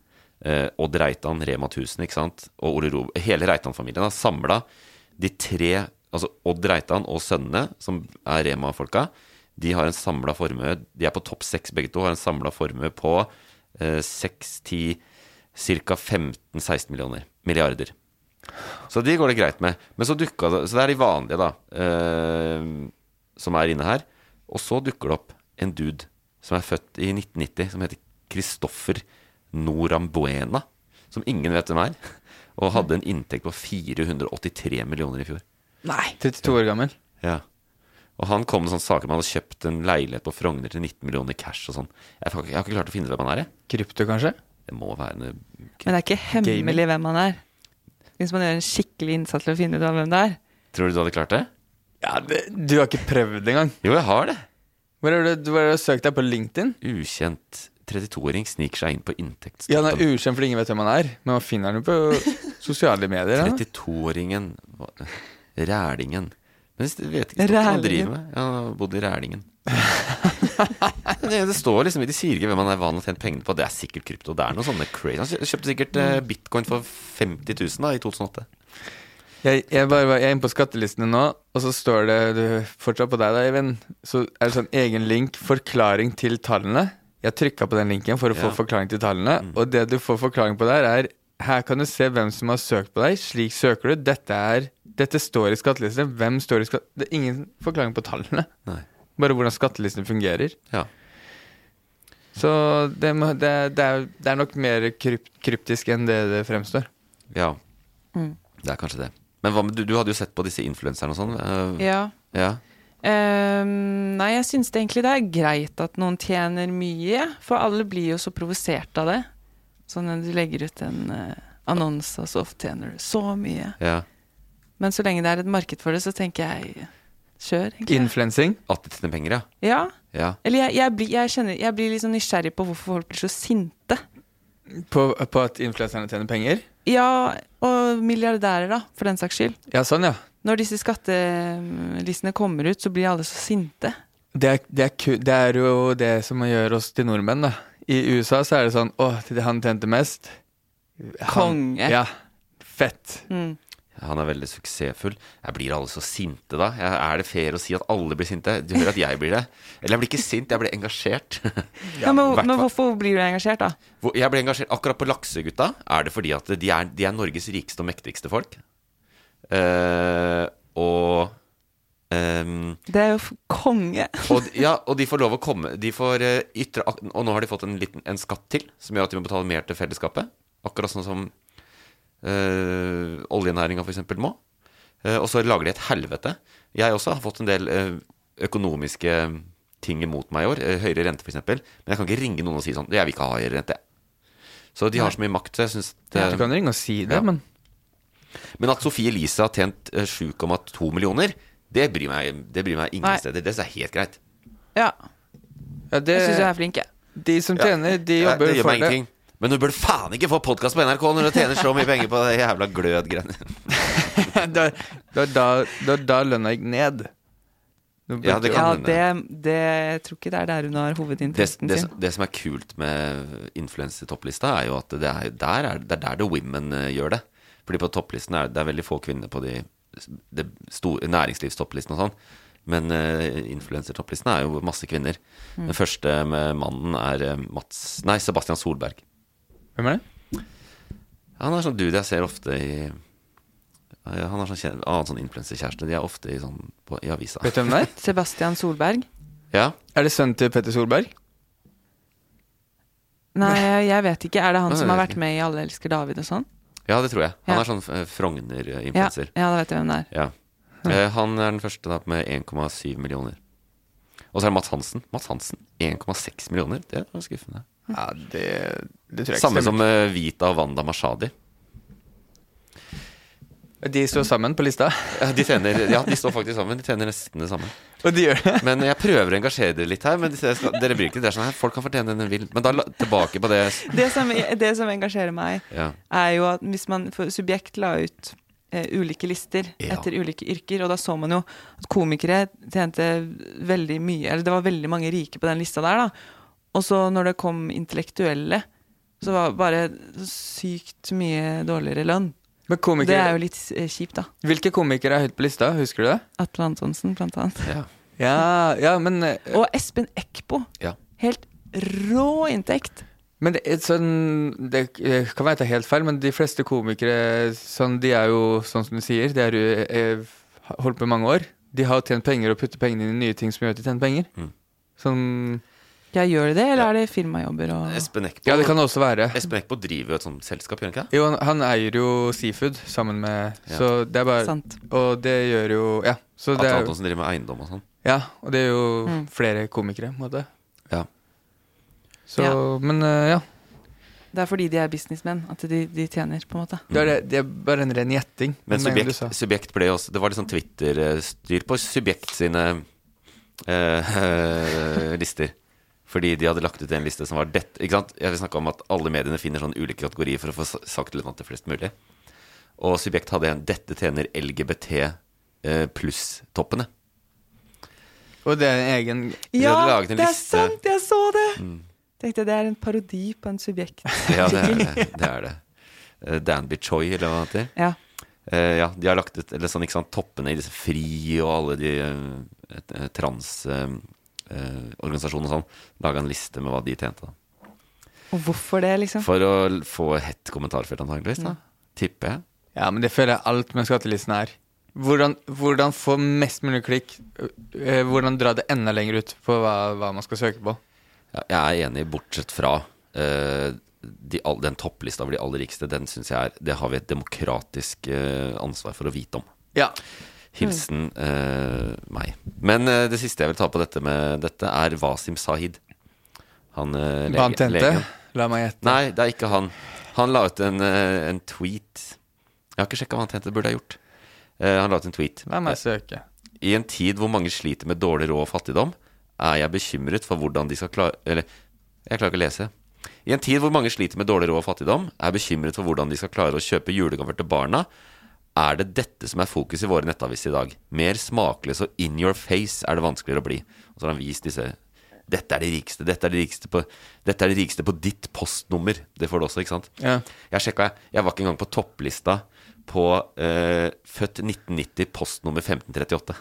A: eh, Odd Reitan, Rema 1000, ikke sant? Og Ole Ro Hele Reitan-familien har samla de tre Altså Odd Reitan og sønnene, som er Rema-folka, de har en samla formue De er på topp seks begge to, har en samla formue på eh, seks, ti, ca. 15-16 millioner. Milliarder. Så de går det greit med. Men så dukka det Så det er de vanlige, da, eh, som er inne her. Og så dukker det opp en dude som er født i 1990, som heter Christoffer Norambuena. Som ingen vet hvem er. Og hadde en inntekt på 483 millioner i fjor.
C: Nei.
B: 32 år gammel.
A: Ja. Og han kom med sånne saker om han hadde kjøpt en leilighet på Frogner til 19 millioner i cash og sånn. Jeg, har ikke- jeg har ikke klart å finne ut hvem han er, jeg.
B: Krypto, kanskje?
A: Det må være en
C: Men det er ikke hemmelig hvem han er. Hvis man gjør en skikkelig innsats til å finne ut av hvem det er.
A: Tror du du hadde klart det?
B: Ja, det, Du har ikke prøvd engang.
A: Jo, jeg har det.
B: Hvor har du, hvor har du søkt deg på LinkedIn?
A: Ukjent 32-åring sniker seg inn på
B: Ja, han er
A: inntektstoppen.
B: ukjent fordi ingen vet hvem han er, men man finner han jo på sosiale medier. da.
A: 32-åringen hva- Rælingen. Men jeg vet ikke hva han driver med. Ja, Han har bodd i Rælingen. det, det står liksom, De sier ikke hvem han er hva han har tjent pengene på. Det er sikkert krypto. Det er noe sånne crazy Han kjøpte sikkert eh, bitcoin for 50 000 da, i 2008.
B: Jeg, jeg, bare, var- jeg er inne på skattelistene nå, og så står det du, fortsatt på deg, da, Even. Så er det sånn egen link 'forklaring til tallene'. Jeg trykka på den linken for å få
A: Ja.
B: forklaring til tallene, og det du får forklaring på der, er her kan du se hvem som har søkt på deg. Slik søker du. Dette, er, dette står i skattelistene. Hvem står i skatt... Det er ingen forklaring på tallene.
A: Nei.
B: Bare hvordan skattelistene fungerer.
A: Ja.
B: Så det, må, det, det, er, det er nok mer kryp, kryptisk enn det det fremstår.
A: Ja. Det er kanskje det. Men hva med, du, du hadde jo sett på disse influenserne og sånn. eh,
C: Ja.
A: ja.
C: Ehm, nei, jeg syns det egentlig det er greit at noen tjener mye, for alle blir jo så provosert av det. Sånn når du legger ut en eh, annonse, og så ofte tjener du så mye.
A: ja.
C: Men så lenge det er et marked for det, så tenker jeg kjør, egentlig.
B: Influensing.
A: At de tjener penger, ja.
C: Ja.
A: ja.
C: Eller jeg, jeg, blir, jeg, kjenner, jeg blir litt sånn nysgjerrig på hvorfor folk blir så sinte.
B: På, på at influenserne tjener penger?
C: Ja, og milliardærer, da, for den saks skyld.
B: Ja, sånn, ja.
C: Når disse skattelistene kommer ut, så blir alle så sinte.
B: Det er, det, er ku, det er jo det som gjør oss til nordmenn, da. I USA så er det sånn Å, det han tjente mest. Han-
C: Konge.
B: Ja. Fett.
A: Han er veldig suksessfull. Jeg blir alle så sinte da? Jeg, er det fair å si at alle blir sinte? Du hører at jeg blir det. Eller jeg blir ikke sint, jeg blir engasjert.
C: Ja, men,
A: hvert
C: men
A: fall.
C: hvorfor blir du engasjert, da?
A: Hvor- Jeg ble engasjert akkurat på Laksegutta. Er det fordi at de er, de er Norges rikeste og mektigste folk? Eh, og ehm,
C: Det er jo f- konge.
A: og, d- ja, og de får lov å komme de får, eh, ytre, ak- Og nå har de fått en, liten, en skatt til Som gjør at de må betale mer til fellesskapet Akkurat sånn som uh, Oljenæringen for eksempel må Eh, Og så lager de et helvete Jeg også har fått en del eh, økonomiske eh, ting imot meg i år eh, Høyere rente for eksempel Men jeg kan ikke ringe noen og si sånn Jeg vil ikke ha høyere rente Så de har så mye makt så jeg synes at,
B: Du
A: eh,
B: kan ringe og si det,
A: ja.
B: men
A: Men at Sofie Elise har tjent eh, 7,2 millioner Det bryr meg, det bryr meg ingen
C: Nei.
A: steder Det er helt greit
C: Ja,
B: ja, det,
C: jeg
A: Eh,
C: syns du er flink, jeg.
B: De som tjener, de
A: Ja,
B: jobber
A: det gjør
B: for
A: meg
B: det.
A: ingenting. Men du burde faen ikke få podkast på NRK når du tjener så mye penger på det jævla glødgreiene.
B: da, da, da, da, da lønna gikk ned. Nå
A: Ja,
B: burde-
A: det
C: Ja,
A: kan
C: det,
A: hende.
C: det jeg tror ikke det er der hun har
A: Det,
C: hovedinteressen
A: det,
C: sin.
A: det som er kult med influensetopplista, er jo at det er der, er, det er der the women eh, gjør det. Fordi på topplisten er det er veldig få kvinner på de, de store næringslivstopplistene og sånn. Men uh, influensertopplisten er jo masse kvinner.
B: Mm.
A: Den første med mannen er eh, Mats Nei, Sebastian Solberg.
B: Hvem er det?
A: Han er sånn dude jeg ser ofte i ja, Han har sånn kjære, annen sånn influenserkjæreste. De er ofte i, sånn, på, i avisa.
B: Vet du hvem det er?
C: Sebastian Solberg?
A: Ja,
B: Er det sønnen til Petter Solberg?
C: Nei, jeg vet ikke. Er det han
A: Nei,
C: som
A: jeg
C: har
A: vet
C: vært med i Alle elsker David og sånn?
A: ja det tror jeg. Han
C: Ja.
A: er sånn eh,
C: Ja,
A: Frogner-influenser.
C: ja, da vet jeg hvem det er.
A: Ja. Eh, Han er den første da med 1,7 millioner. Og så er det Mats Hansen. Mats Hansen, 1,6 millioner. Det var skuffende.
B: Ja, det, det tror jeg ikke
A: Samme som
B: stemmer.
A: eh, Vita og Wanda Mashadi.
B: De står sammen på lista,
A: Ja, de, tjener, ja, de står faktisk sammen. De tjener nesten det samme.
B: og de gjør det.
A: Men jeg prøver å engasjere dere litt her. Men disse- jeg skal, dere blir ikke det. er sånn her, Folk kan fortjene det de vil. Men da la- tilbake på det
C: Det som, det som engasjerer meg,
A: Ja.
C: er jo at hvis man For Subjekt la ut eh, ulike lister
A: Ja.
C: etter ulike yrker, og da så man jo at komikere tjente veldig mye Eller det var veldig mange rike på den lista der, da. Og så når det kom intellektuelle, så var det bare sykt mye dårligere lønn.
B: Men
C: Det er
B: komikere,
C: jo litt eh, kjipt, da.
B: Hvilke komikere er høyt på lista? Husker du det?
C: Atle Antonsen, blant annet.
A: ja.
B: Ja, ja men, eh,
C: Og Espen Eckbo.
A: Ja.
C: Helt rå inntekt.
B: men det, er sånn, det eh, kan være at det er helt feil, men de fleste komikere sånn, de er jo sånn som du sier, de er jo eh, holdt på i mange år. De har tjent penger og putter pengene inn i nye ting som gjør at de tjener penger.
A: Mm.
B: Sånn,
C: Ja, gjør de det, eller er det firmajobber og
A: Espen Eckbo
B: ja, det kan det også være.
A: Espen Eckbo driver jo et sånt selskap, gjør han ikke det?
B: Jo, han, han eier jo Seafood sammen med
A: Ja.
B: Så det er bare
C: Sant.
B: Og det gjør jo Ja. Så det
A: Atle
B: er, jo-
A: Antonsen driver med eiendom og sånn.
B: ja og det er jo
C: Mm.
B: flere komikere, på en måte.
A: Ja.
B: Så
C: Ja.
B: Men eh, ja.
C: Det er fordi de er businessmenn, at de, de tjener, på en måte.
B: Det er, det, det er bare en ren
A: Mm.
B: gjetting.
A: Men
B: mener du
A: subjekt,
B: sa.
A: subjekt ble også Det var litt sånn Twitter-styr på Subjekt sine eh, lister. Fordi de hadde lagt ut en liste som var dette. Ikke sant? Jeg vil snakke om at alle mediene finner sånn ulike kategorier for å få s- sagt litt annet til flest mulig. Og Subjekt hadde en 'Dette tjener LGBT eh, pluss-toppene'.
B: Og det er en egen
A: De hadde laget en
C: det er
A: liste.
C: sant! Jeg så det!
B: Mm.
C: Tenkte det er en parodi på en subjekt.
A: Ja, det er det. det, er det. Eh, Danby Choi, eller hva han heter.
C: Ja.
A: Eh, ja, de har lagt ut eller sånn, ikke sant, toppene i disse fri og alle de eh, transorganisasjonene og sånn. Laga en liste med hva de tjente. da.
C: Og hvorfor det, liksom?
A: For å l- få hett kommentarfelt, antakeligvis. da, Tipper jeg.
B: Ja, men det føler jeg alt med skattelisten er. Hvordan, hvordan få eh, mest mulig klikk? øh, øh, Hvordan dra det enda lenger ut på hva, hva man skal søke på?
A: Ja, jeg er enig, bortsett fra eh, de, all, den topplista over de aller rikeste. Den synes jeg er Det har vi et demokratisk eh, ansvar for å vite om.
B: Ja.
A: Hilsen eh, meg. Men eh, det siste jeg vil ta på dette med dette, er Wasim Sahid. Han eh,
B: Hva han
A: lege-
B: tjente?
A: legen.
B: La meg gjette.
A: Nei, det er ikke han. Han la ut en, eh, en tweet. Jeg har ikke sjekka hva han tjente, det burde jeg gjort. Eh, han la ut en tweet.
B: La meg søke.
A: I en tid hvor mange sliter med dårlig råd og fattigdom, er jeg bekymret for hvordan de skal klare Eller, jeg klarer ikke å lese. I en tid hvor mange sliter med dårlig råd og fattigdom, er jeg bekymret for hvordan de skal klare å kjøpe julegaver til barna, er det dette som er fokus i våre nettaviser i dag. Mer smakløs og in your face er det vanskeligere å bli. Og så har han vist disse Dette er de rikeste, dette er de rikeste på, dette er de rikeste på ditt postnummer. Det får du også, ikke sant?
B: Ja.
A: Jeg sjekka, jeg. Jeg var ikke engang på topplista på eh, født 1990, postnummer 1538.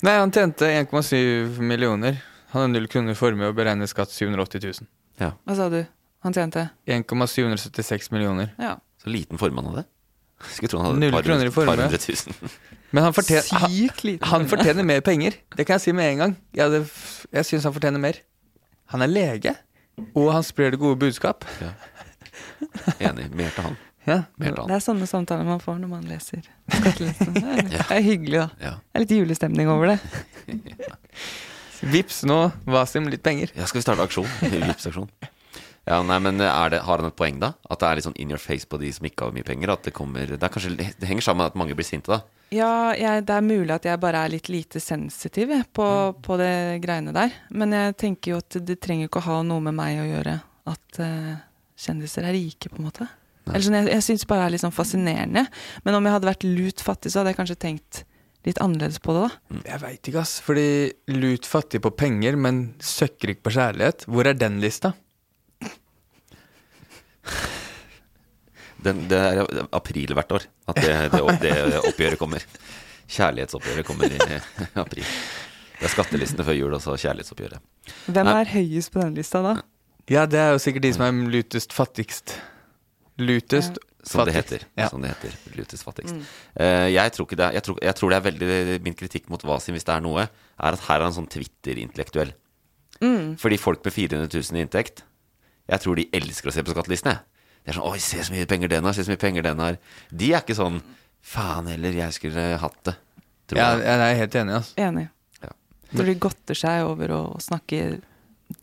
B: Nei, han tjente 1,7 millioner. Han har null kroner i formue og beregner skatt 780 000.
C: Hva sa du? Han tjente?
B: 1,776 millioner.
C: Ja.
A: Så liten formue han hadde. Skulle tro han hadde
B: Null
A: et par,
B: kroner i
A: hundre- par
B: formue.
A: hundre tusen.
B: Men han, fortjener, han,
C: Sykt liten.
B: han fortjener mer penger. Det kan jeg si med en gang. Jeg, hadde f- jeg syns han fortjener mer. Han er lege, og han sprer det gode budskap.
A: Enig. Mer til han.
B: Ja.
A: Mer til
C: Det
A: han.
C: er sånne samtaler man får når man leser skattelisten. Det er, det er hyggelig, da.
A: Ja.
C: Det er litt julestemning over det.
B: Vips nå, Wasim, litt penger.
A: ja, skal vi starte aksjon? Vipps-aksjon. Ja, nei, men er det, Har han et poeng, da? At det er litt sånn in your face på de som ikke har mye penger? At Det kommer, det, er kanskje, det henger sammen med at mange blir sinte, da.
C: Ja, jeg, det er mulig at jeg bare er litt lite sensitiv jeg, på,
A: Mm.
C: på det greiene der. Men jeg tenker jo at det trenger jo ikke å ha noe med meg å gjøre at eh, kjendiser er rike, på en måte. Eller sånn, jeg jeg syns bare det er litt sånn fascinerende. Men om jeg hadde vært lut fattig, så hadde jeg kanskje tenkt litt annerledes på det, da.
B: Jeg veit ikke, ass. Fordi lut fattig på penger, men søkkrik på kjærlighet. Hvor er den lista?
A: Den, det er april hvert år at det, det, det oppgjøret kommer. Kjærlighetsoppgjøret kommer i april. Det er skattelistene før jul, og så kjærlighetsoppgjøret.
C: Hvem
A: Nei.
C: er høyest på den lista da?
B: Ja, det er jo sikkert de som er lutest fattigst. Lutest
A: Som det
B: fattigst.
A: heter.
B: Ja. Mm.
A: Som det heter Lutes fattigst. Eh, jeg, tror ikke det, er- jeg, tror, jeg tror det er veldig Min kritikk mot Wasim, hvis det er noe, er at her er han sånn Twitter-intellektuell.
B: Mm.
A: Fordi folk med 400 000 i inntekt, jeg tror de elsker å se på skattelistene. Det er sånn Oi, se så mye penger den har, se så mye penger den har. De er ikke sånn Faen heller, jeg skulle hatt det. Tror
B: Ja,
A: jeg.
B: jeg er helt enig. ass.
C: Enig.
A: Ja.
C: Tror de godter seg over å snakke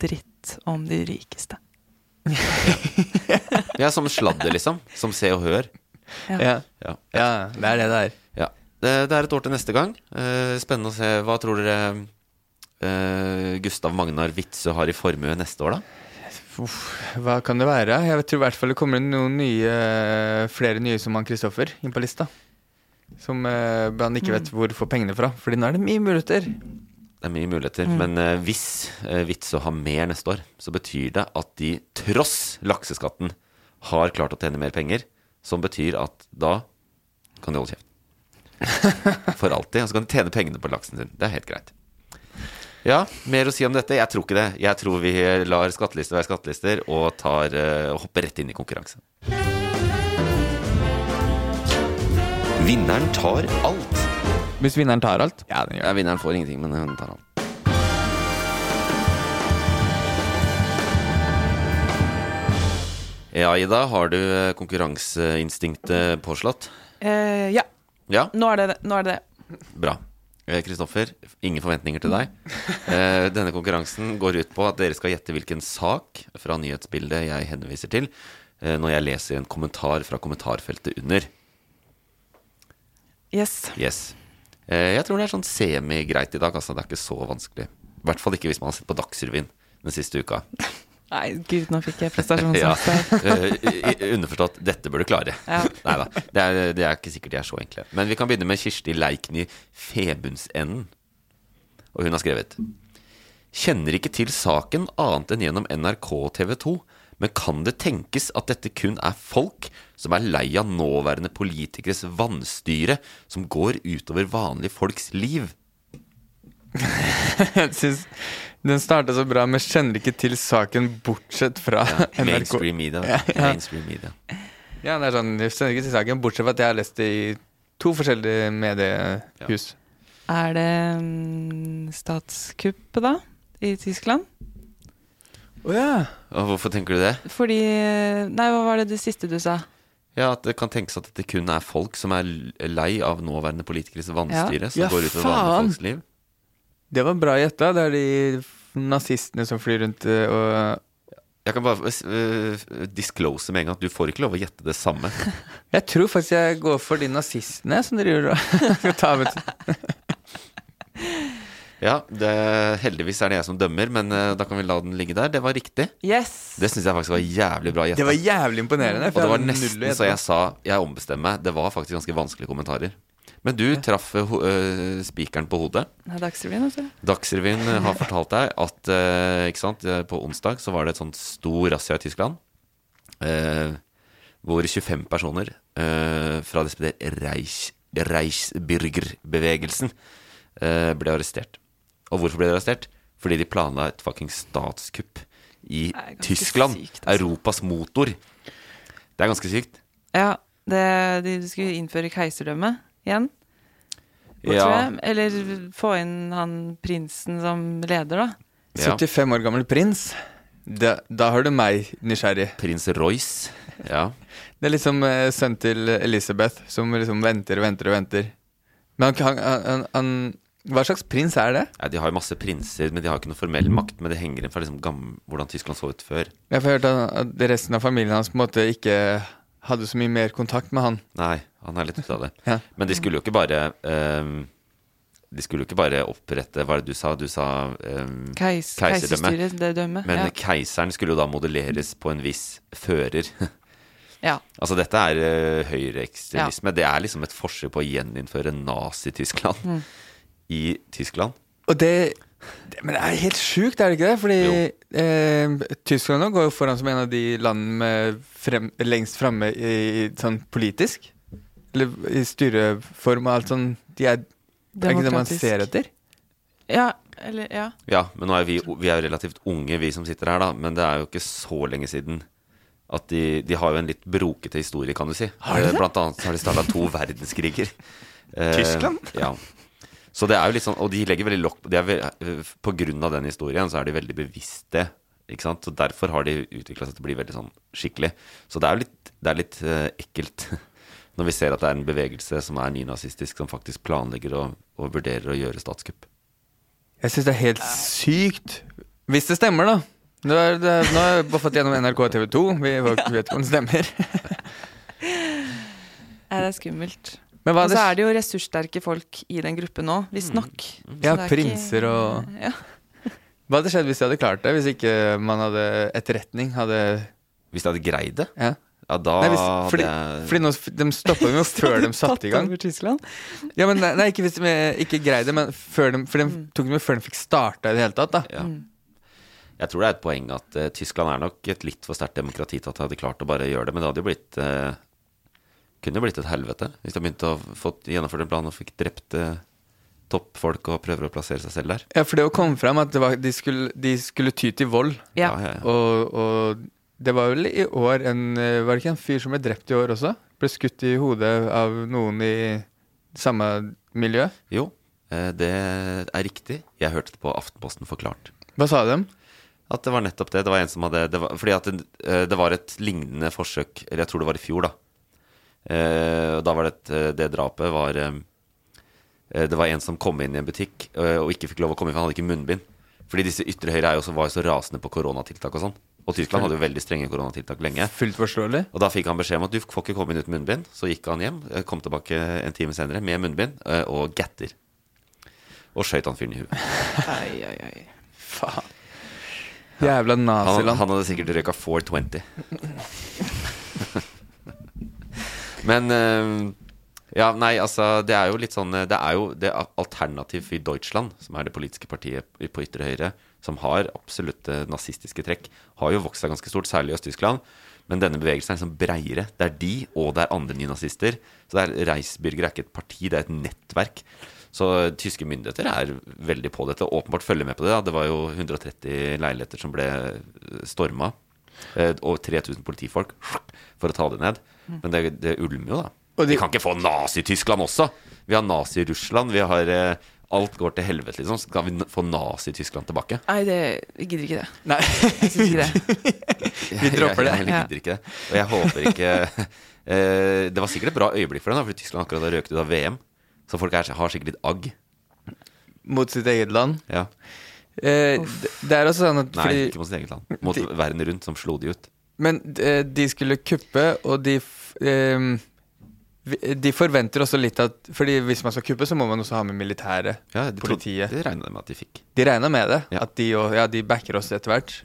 C: dritt om de rikeste.
A: Ja, som sladder, liksom. Som Se og Hør.
B: Ja.
A: Ja.
B: ja, det er det det er.
A: ja. Det, det er et år til neste gang. Eh, spennende å se. Hva tror dere eh, Gustav Magnar Witzøe har i formue neste år, da?
B: Hva kan det være? Jeg tror i hvert fall det kommer inn noen nye, flere nye som han Kristoffer inn på lista. Som eh, han ikke vet hvor får pengene fra. Fordi nå er det mye muligheter.
A: Det er mye muligheter, men eh, hvis uh, Witzøe har mer neste år, så betyr det at de tross lakseskatten har klart å tjene mer penger, som betyr at da kan de holde kjeft. For alltid. Og så kan de tjene pengene på laksen sin. Det er helt greit. Ja, mer å si om dette? Jeg tror ikke det. Jeg tror vi lar skattelister være skattelister og tar, eh, og hopper rett inn i konkurranse. Vinneren tar alt.
B: Hvis vinneren tar alt. Ja, den
A: Ja, vinneren får ingenting, men hun tar alt. Ja, Ida, har du eh, konkurranseinstinktet påslått?
C: Eh, ja,
A: Ja,
C: nå er det det. Nå er det det.
A: bra. Eh, Kristoffer, ingen forventninger til deg. Eh, Denne konkurransen går ut på at dere skal gjette hvilken sak fra nyhetsbildet jeg henviser til eh, når jeg leser en kommentar fra kommentarfeltet under.
C: Yes.
A: Yes. Eh, Jeg tror det er sånn semi-greit i dag. Altså, det er ikke så vanskelig. I hvert fall ikke hvis man har sett på Dagsrevyen den siste uka.
C: Nei, gud, nå fikk jeg
A: Ja,
C: prestasjonsangst. her.
A: eh, i- underforstått. Dette bør du klare.
C: Ja.
A: Neida, Det er, det er ikke sikkert de er så enkle. Men vi kan begynne med Kirsti Leikny Febundsenden. Og hun har skrevet Kjenner ikke til saken annet enn gjennom NRK og TV 2, men kan det tenkes at dette kun er folk som er lei av nåværende politikeres vanstyre som går utover vanlige folks liv?
B: Jeg synes den starta så bra, men kjenner ikke til saken bortsett fra NRK.
A: Mainstream media. Mainstream media.
B: Ja, det er sånn, jeg kjenner ikke til saken bortsett fra at jeg har lest det i to forskjellige mediehus.
C: er det mm, statskupp da i Tyskland.
B: Å ja.
A: Og hvorfor tenker du det?
C: Fordi Nei, hva var det det siste du sa?
A: Ja, At det kan tenkes at det kun er folk som er l- lei av nåværende politikeres
C: Ja.
A: vanstyre, som
B: Ja,
A: går ut over vanlige
B: faen!
A: folks liv.
B: Det var bra gjetta. Det er de f- nazistene som flyr rundt eh, og
A: Jeg kan bare eh, disclose med en gang at du får ikke lov å gjette det samme.
B: Jeg tror faktisk jeg går for de nazistene som driver og skal ta med
A: Ja, det, Heldigvis er det jeg som dømmer, men eh, da kan vi la den ligge der. Det var riktig.
C: Yes!
A: Det syns jeg faktisk var jævlig bra
B: Det
A: gjetta.
B: var jævlig imponerende.
A: Og
B: for
A: det var
B: jeg hadde null å
A: nesten
B: gjette
A: så
B: på.
A: jeg sa jeg ombestemmer meg. Det var faktisk ganske vanskelige kommentarer. Men du traff eh, ho eh, spikeren på hodet.
C: Det er Dagsrevyen, altså.
A: Dagsrevyen eh, har fortalt deg at eh, ikke sant, eh, på onsdag så var det et sånt stor razzia i Tyskland. Eh, hvor 25 personer eh, fra det Reich, Reichsbürgerbevegelsen eh, ble arrestert. Og hvorfor ble de arrestert? Fordi de planla et fuckings statskupp i
C: er ganske
A: Tyskland.
C: sykt, altså.
A: Europas motor. Det er ganske sykt.
C: Ja, det, de skulle innføre keiserdømme igjen. Tror
A: Ja.
C: jeg. Eller få inn han prinsen som leder, da.
A: Ja.
B: 75 år gammel prins. Da, da har du meg nysgjerrig.
A: Prins Royce. Ja.
B: Det er liksom eh, sønnen til Elizabeth som liksom venter og venter og venter. Men han, han, han, han Hva slags prins er det?
A: Nei, de har jo masse prinser, men de har ikke noe formell makt. Men det henger igjen fra liksom gam- hvordan Tyskland så ut før.
B: Jeg har hørt at at resten av familien hans på en måte ikke hadde så mye mer kontakt med han.
A: Nei, han er litt ute av det.
B: Ja.
A: Men de skulle jo ikke bare ehm, De skulle jo ikke bare opprette Hva er det du sa? Du sa ehm,
C: Keis,
A: Keiserdømme.
C: Keiserstyret, det dømmet.
A: Men
C: ja.
A: keiseren skulle jo da modelleres på en viss fører.
C: ja.
A: altså dette er uh, høyreekstremisme. Det er liksom et forsøk på å gjeninnføre Nazi-Tyskland
C: Mm.
A: i Tyskland.
B: Og det, det Men det er helt sjukt, er det ikke det? Fordi eh, Tyskland nå går jo foran som en av de landene med frem, lengst framme i, i sånn politisk. Eller i styreform og alt sånn. De er, er ikke det man
C: Demokratisk.
B: ser etter?
C: Ja, eller ja.
A: Ja, men nå er vi, vi er jo relativt unge, vi som sitter her, da. Men det er jo ikke så lenge siden. At de, de har jo en litt brokete historie, kan du si. Eh,
B: Har de det?
A: Blant annet så har de starta to verdenskriger. Eh,
B: Tyskland?
A: ja. Så det er jo litt sånn, Og de legger veldig lokk på de er ve- eh, På grunn av den historien så er de veldig bevisste. Ikke sant? Så Derfor har de utvikla seg til å bli veldig sånn skikkelig. Så det er jo litt, det er litt eh, ekkelt når vi ser at det er en bevegelse som er nynazistisk, som faktisk planlegger og, og vurderer å gjøre statskupp.
B: Jeg syns det er helt sykt. Hvis det stemmer, da. Nå, er det, nå har jeg bare fått gjennom NRK og TV 2. Vi var- vet ikke om det stemmer.
C: Nei, det er skummelt.
B: Men hva
C: Og
B: er det,
C: så er det jo ressurssterke folk i den gruppen nå, visstnok. Så
B: Ja,
C: det er
B: prinser og-
C: ja.
B: hva hadde skjedd hvis de hadde klart det? Hvis ikke man hadde etterretning? Hadde,
A: Hvis de hadde greid det,
B: ja.
A: ja da
B: Nei, hvis,
A: hadde
B: fordi,
A: jeg-
B: fordi nå, de stoppa dem jo før de satte i gang.
C: Tatt over Tyskland.
B: Ja, men nei, nei, ikke hvis de ikke greide det, men før de, for de tok dem jo før de fikk starta i det hele tatt. da
A: Ja. Jeg tror det er et poeng at eh, Tyskland er nok et litt for sterkt demokrati til at de hadde klart å bare gjøre det, men det hadde jo blitt eh, Kunne jo blitt et helvete hvis de begynte å få gjennomført en plan og fikk drept eh, toppfolk og prøver å plassere seg selv der.
B: Ja, For det å komme fram at det var, de, skulle, de skulle ty til vold,
C: Ja.
A: Ja, ja, ja.
B: og, og det var vel i år en eh, Var det ikke en fyr som ble drept i år også? Ble skutt i hodet av noen i samme miljø.
A: Jo, eh, det er riktig. Jeg hørte det på Aftenposten forklart.
B: Hva sa de?
A: At det var nettopp det. Det var en som hadde det var, Fordi at det, eh, det var et lignende forsøk, eller jeg tror det var i fjor, da. Eh, og da var det et, eh, Det drapet var eh, eh, Det var en som kom inn i en butikk eh, og ikke fikk lov å komme inn, for han hadde ikke munnbind. Fordi disse ytre høyre er jo så, var jo så rasende på koronatiltak og sånn. Og Tyskland hadde jo veldig strenge koronatiltak lenge.
B: Fullt forståelig.
A: Og da fikk han beskjed om at du får ikke komme inn uten munnbind. Så gikk han hjem, eh, kom tilbake en time senere med munnbind eh, og gatter. Og skøyt han fyren i huet.
C: Ai, ai, ai.
B: Faen. Jævla
A: Han,
B: naziland.
A: han hadde sikkert røyka 420. Men eh, Ja, nei, altså Det er jo litt sånn eh, Det er jo det al- alternativ i Deutschland, som er det politiske partiet i- på ytre høyre, som har absolutte nazistiske trekk, har jo vokst seg ganske stort, særlig i Øst-Tyskland. Men denne bevegelsen er liksom breiere. Det er de, og det er andre nynazister. Så det er Reisbürger er ikke et parti, det er et nettverk. Så eh, tyske myndigheter er veldig på dette. Åpenbart følger med på det. Da. Det var jo 130 leiligheter som ble storma. Og 3000 politifolk for å ta det ned. Men det, det ulmer jo, da.
B: Mm. Og de-
A: Vi kan ikke få Nazi-Tyskland også! Vi har Nazi-Russland, vi har eh, Alt går til helvete, liksom. Skal vi n- få Nazi-Tyskland tilbake?
C: Nei, det, jeg gidder ikke det.
B: Nei,
C: Jeg synes ikke det.
A: Vi
B: dropper det.
A: Jeg, jeg, heller gidder ikke det. Og jeg håper ikke eh, Det var sikkert et bra øyeblikk for dem, da, fordi Tyskland akkurat har røket ut av VM. Så folk er, har sikkert litt agg.
B: mot sitt eget land.
A: Ja.
B: Eh, d- det er også sånn at
A: Nei,
B: fordi,
A: ikke mot sitt eget land. Mot
B: De-
A: verden rundt, som slo de ut.
B: Men eh, de skulle kuppe, og de f- ehm, vi- De forventer også litt at Fordi hvis man skal kuppe, så må man også ha med militæret.
A: Ja, de trodde-
B: Politiet.
A: Det regna de med at de fikk.
B: De regna med det.
A: Ja.
B: At de, og, ja, de backer oss etter hvert.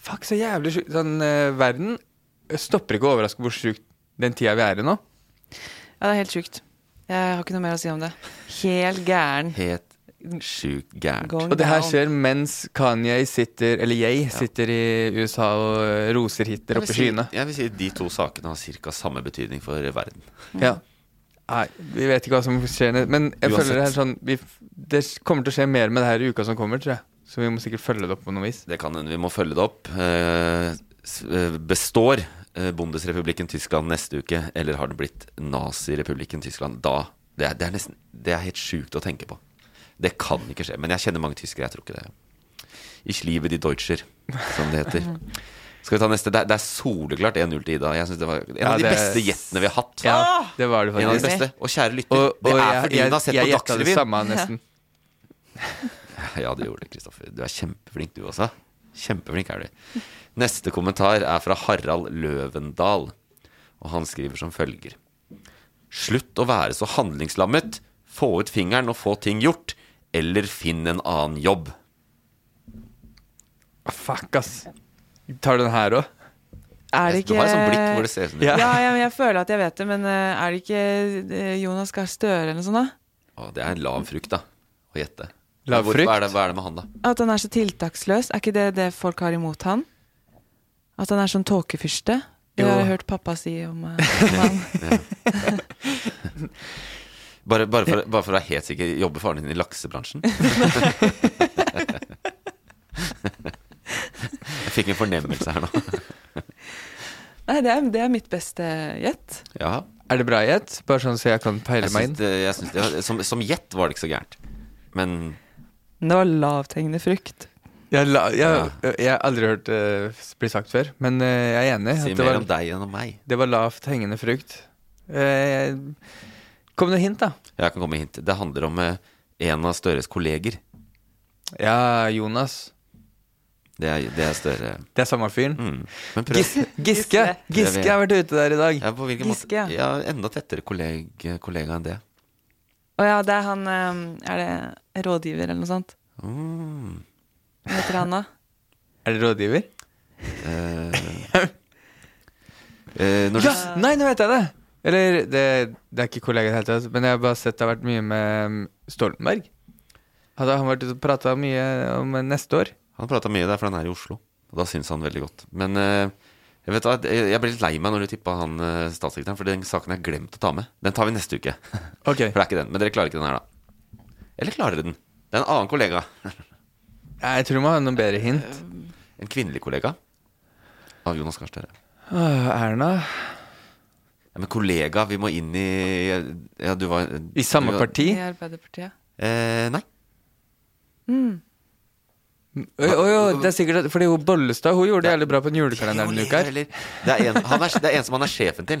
B: Fuck, så jævlig sjukt. Sånn, eh, verden eh, stopper ikke å overraske hvor sjukt den tida vi er i nå.
C: Ja, det er helt sjukt. Jeg har ikke noe mer å si om det. Helt gæren.
A: Helt sjukt gærent.
C: Going
B: Og det her
C: down.
B: skjer mens Kanye sitter, eller jeg, sitter i USA og eh, roser Hitler opp i skyene.
A: Jeg vil si de to sakene har ca. samme betydning for verden.
B: Ja. Nei, vi vet ikke hva som skjer, ned- men jeg føler det er sånn vi, f- Det s- kommer til å skje mer med det her i uka som kommer, tror jeg. Så vi må sikkert følge det opp på noe vis.
A: Det kan hende vi må følge det opp. Eh, s- eh, består eh, Bundesrepublikken Tyskland neste uke, eller har det blitt Nazirepublikken Tyskland da? Det er, det er, nesten, det er helt sjukt å tenke på. Det kan ikke skje. Men jeg kjenner mange tyskere, jeg tror ikke det. Ich liebe die Deutscher, som det heter. Skal vi ta neste? Det er, det er soleklart 1-0 til Ida. Jeg synes det var En av
B: Ja,
A: de
B: det er-
A: beste gjettene vi har hatt.
B: Ja, det var det
A: En av de
B: faktisk.
A: beste. Og kjære lytter,
B: Og, og
A: det er
B: jeg,
A: fordi
B: jeg,
A: hun har sett
B: jeg
A: på
B: gjetta det
A: Dagsrevyen.
B: samme nesten.
A: Ja, det gjorde det, Kristoffer. Du er kjempeflink, du også. Kjempeflink er du. Neste kommentar er fra Harald Løvendal, og han skriver som følger. Slutt å være så handlingslammet. Få ut fingeren og få ting gjort. Eller finn en annen jobb.
B: Ah, Fuck, ass. Tar du den her òg?
C: Er det
A: Du
C: ikke
A: har et
B: sånn
A: sånt blikk hvor det ser ut som du
B: Ja.
C: Ja, jeg, jeg føler at jeg vet det, men eh, er det ikke eh, Jonas Gahr Støre eller noe sånt, da?
A: Å, Det er en lav frukt, da. Å gjette.
B: Lav
A: Hvor-
B: frukt?
A: Hva er, det, hva er det med han, da?
C: At han er så tiltaksløs. Er ikke det det folk har imot han? At han er sånn tåkefyrste? Det
B: Jo.
C: har jeg hørt pappa si om, eh, om han.
A: Bare, bare, for, bare for å være helt sikker, jobber faren din i laksebransjen? Jeg fikk en fornemmelse her nå.
C: Nei, det er, det er mitt beste eh, gjett.
A: Ja,
B: Er det bra gjett? Bare sånn så jeg kan peile
A: Jeg
B: meg
A: syns
B: inn.
A: det, jeg syns det var, som, som gjett var det ikke så gærent. Men
C: Det var lavthengende frukt.
B: Jeg, la, jeg, jeg har aldri hørt det bli sagt før, men eh, jeg er enig.
A: si
B: at det
A: mer
B: var,
A: om deg enn om meg.
B: det var lavt hengende frukt. Eh, jeg- kom det hint, da?
A: Jeg kan komme med hint. Det handler om eh, en av Støres kolleger.
B: Ja, Jonas.
A: Det er, det er Støre.
B: Det er samme fyren.
A: Mm. Men prøv.
B: Gis Giske! Giske har vært ute der i dag.
A: Ja, på hvilken
C: Giske,
A: måte?
C: ja.
A: Ja, enda tettere kolleg, kollega enn det.
C: Å ja, det er han eh, Er det rådgiver eller noe sånt?
A: Mm.
C: Hva heter han da?
B: Er det rådgiver?
A: Eh, eh, når du
B: Ja!
A: s-
B: Nei, nå vet jeg det! Eller det, det er ikke kollega i det hele tatt, men jeg har bare sett det har vært mye med mm, Stoltenberg. Hadde han vært ute og prata mye om eh, neste år?
A: Han prata mye der, for han er i Oslo. Og da syns han veldig godt. Men eh, jeg, vet hva, jeg jeg ble litt lei meg når du tippa han eh, statssekretæren, for den saken har jeg glemt å ta med. Den tar vi neste uke.
B: Ok.
A: For det er ikke den. Men dere klarer ikke den her, da. Eller klarer dere den? Det er en annen kollega.
B: Nei, Jeg tror vi må ha noen bedre hint.
A: En kvinnelig kollega av Jonas Gahr Støre.
B: Åh, Ah, Erna
A: Ja, men kollega, vi må inn i Ja, du var
B: I samme
A: du var-
B: parti?
C: I Arbeiderpartiet?
A: Eh, nei.
B: Oi, oi, oi, det er sikkert at- Fordi hun Bollestad hun gjorde det jævlig bra på en julekalender denne uka. her.
A: Eller- Det er, en, han er, det er en som han er sjefen til.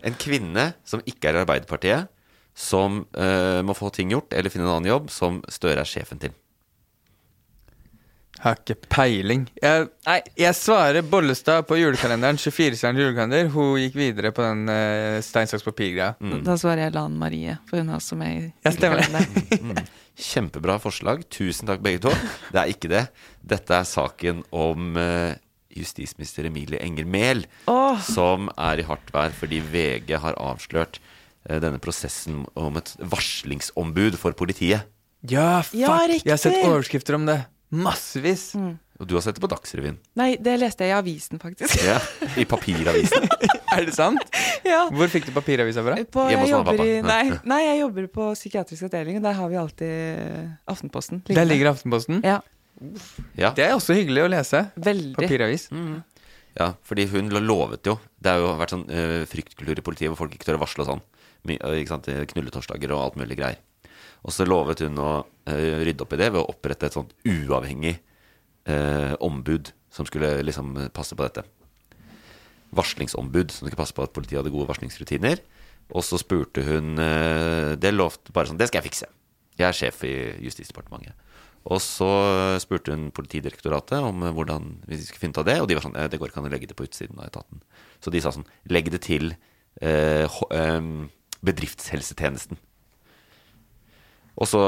A: En kvinne som ikke er i Arbeiderpartiet, som eh, må få ting gjort eller finne en annen jobb, som Støre er sjefen til.
B: Jeg har ikke peiling. Jeg, jeg svarer Bollestad på julekalenderen. 24-stjerne julekalender. Hun gikk videre på den uh, stein, saks, papir-greia.
C: Da svarer jeg Lan Marie, for hun er også med i
B: Ja, stemmer det.
A: Kjempebra forslag. Tusen takk, begge to. Det er ikke det. Dette er saken om eh, justisminister Emilie Enger Mehl, som er i hardt vær fordi VG har avslørt eh, denne prosessen om et varslingsombud for politiet.
B: Ja, fuck!
C: Ja, riktig. Mm.
B: jeg har sett overskrifter om det. Massevis.
A: Og du har sett det på Dagsrevyen.
C: Nei, det leste jeg i avisen, faktisk.
A: Ja, I papiravisen.
B: Er det sant?
C: Ja.
B: Hvor fikk du papiravisa fra?
C: På,
A: Hjemme hos
C: jeg,
A: mamma og
C: jobber i,
A: pappa.
C: nei, nei, jeg jobber på psykiatrisk avdeling, og der har vi alltid eh, Aftenposten.
B: Der ligger Aftenposten.
C: Ja,
A: Ja.
B: Det er også hyggelig å lese.
C: veldig. Mm.
B: Papiravis.
A: Ja, fordi hun lo- lovet jo Det har jo vært sånn eh, fryktkultur i politiet hvor folk ikke tør å varsle og sånn. My, eh, ikke sant? eh, Knulletorsdager og alt mulig greier. Og så lovet hun å eh, rydde opp i det ved å opprette et sånt uavhengig eh, ombud som skulle liksom eh, passe på dette. Varslingsombud som skulle passe på at politiet hadde gode varslingsrutiner. Og så spurte hun eh, Det lovte bare sånn Det skal jeg fikse. Jeg er sjef i Justisdepartementet. Og så spurte hun Politidirektoratet om eh, hvordan vi skulle finne ut av det, og de var sånn eh, Det går ikke an å legge det på utsiden av etaten. Så de sa sånn Legg det til eh, ho- em, bedriftshelsetjenesten. Og så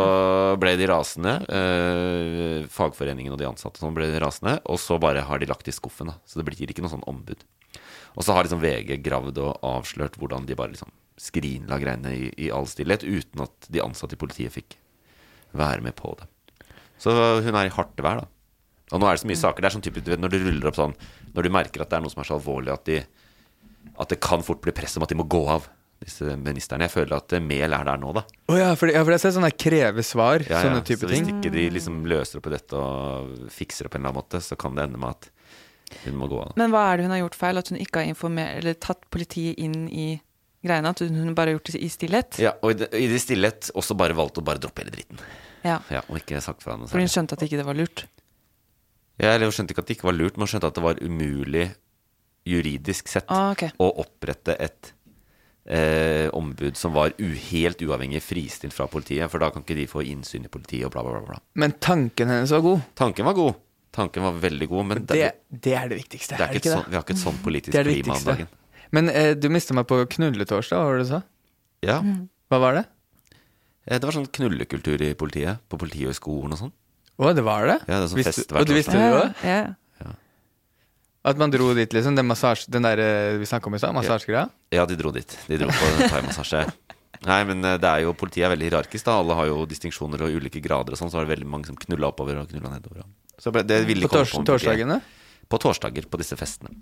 A: ble de rasende. Eh, fagforeningen og de ansatte og sånn ble rasende. Og så bare har de lagt det i skuffen, da. Så det blir ikke noe sånn ombud. Og så har liksom VG gravd og avslørt hvordan de bare liksom skrinla greiene i, i all stillhet, uten at de ansatte i politiet fikk være med på det. Så hun er i hardt vær, da. Og nå er det så mye
B: Mm.
A: saker. Det er sånn typisk, du vet, når du ruller opp sånn Når du merker at det er noe som er så alvorlig at, de, at det kan fort bli press om at de må gå av, disse ministerne. Jeg føler at eh, Mehl er der nå, da.
B: Å ja, for, ja, for jeg har sett sånne kreve svar.
A: Ja,
B: sånne
A: ja.
B: type
A: så
B: ting.
A: Hvis ikke de liksom løser opp i dette og fikser det på en eller annen måte, så kan det ende med at hun må gå av.
C: Men hva er det hun har gjort feil? At hun ikke har informert, eller tatt politiet inn i greiene? At hun hun bare har gjort det i stillhet?
A: Ja, og i det, i det stillhet også bare valgt å bare droppe hele dritten.
C: Ja.
A: Ja, Og ikke sagt fra noe
C: For hun
A: særlig.
C: skjønte at ikke det var lurt.
A: Ja, eller hun skjønte ikke at det ikke var lurt, men hun skjønte at det var umulig juridisk sett
C: Ah, ok.
A: å opprette et eh, ombud som var u helt uavhengig fristilt fra politiet, for da kan ikke de få innsyn i politiet og bla, bla, bla. bla.
B: Men tanken hennes var god.
A: Tanken var god. Tanken var veldig god, men det,
B: Det,
A: det,
B: det er det viktigste.
A: er ikke et sånn, vi har ikke et sånn politisk
B: Det er det
A: klima om
B: viktigste.
A: dagen.
B: Men eh, du mista meg på knulletorsdag, hva var det du sa?
A: Ja.
B: Hva var det?
A: Eh, Det var sånn knullekultur i politiet, på Politihøgskolen og sånn.
B: Å, det var det?
A: Ja, det er sånn
B: Visste-
A: fest hver
B: Og du visste det
C: Ah, Ja,
B: òg?
C: ja.
B: At man dro dit, liksom? Den, massasje, den der eh, vi snakka om i stad, massasjegreia?
A: Ja, de dro dit. De dro på thaimassasje. Nei, men eh, det er jo, politiet er veldig hierarkisk. da Alle har jo distinksjoner og ulike grader og sånn. Så var det veldig mange som knulla oppover og knulla nedover. Så ble- det ville
B: På
A: komme
B: tors
A: om politiet.
B: torsdagene?
A: På torsdager, på disse festene.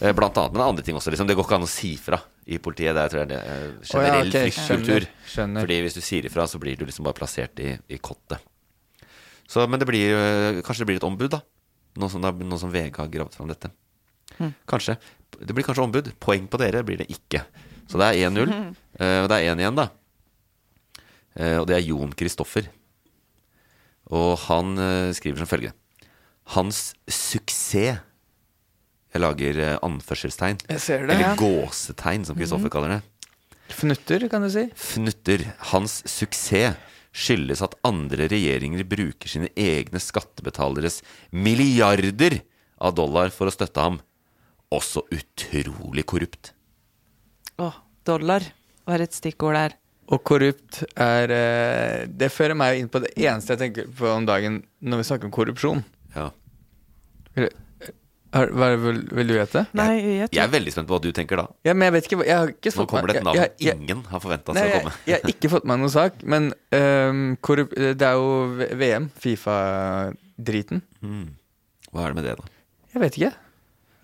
A: Eh, Blant annet, men det er andre ting også. Liksom. Det går ikke an å si fra i politiet. Det er, tror jeg, det er
B: Å ja,
A: generell
B: ok,
A: fryktkultur.
B: skjønner, skjønner.
A: Fordi hvis du sier ifra, så blir du liksom bare plassert i, i kottet. Så, men det blir, eh, kanskje det blir et ombud, da. Nå som, det er- nå som VG har gravd fram dette. Kanskje. Det blir kanskje ombud. Poeng på dere blir det ikke. Så det er 1-0. eh, Og det er 1 igjen, da. Eh, Og det er Jon Kristoffer. Og han eh, skriver som følger. Hans suksess Jeg lager eh, anførselstegn.
B: Jeg ser det. Mhm.
A: Eller gåsetegn, som Kristoffer kaller det
B: Fnutter, kan du si.
A: fnutter hans suksess skyldes at andre regjeringer bruker sine egne skattebetaleres milliarder av dollar for å støtte ham. Også utrolig korrupt.
C: Å, dollar var et stikkord der.
B: Og korrupt er eh, Det fører meg inn på det eneste jeg tenker på om dagen når vi snakker om korrupsjon.
A: Ja.
B: Eller, Er, hva vil, vil du gjette?
C: Nei, jeg
A: Jeg er veldig spent på hva du tenker da.
B: Ja, men jeg vet ikke hva- Jeg har ikke
A: Nå
B: fått
A: kommer
B: meg-
A: det et navn
B: jeg- jeg-
A: ingen har forventa
B: Nei,
A: skal
B: jeg,
A: komme.
B: jeg har ikke fått meg noen sak, men øhm, korrup det er jo V- VM, Fifa-driten.
A: Hmm. Hva er det med det, da?
B: Jeg vet ikke.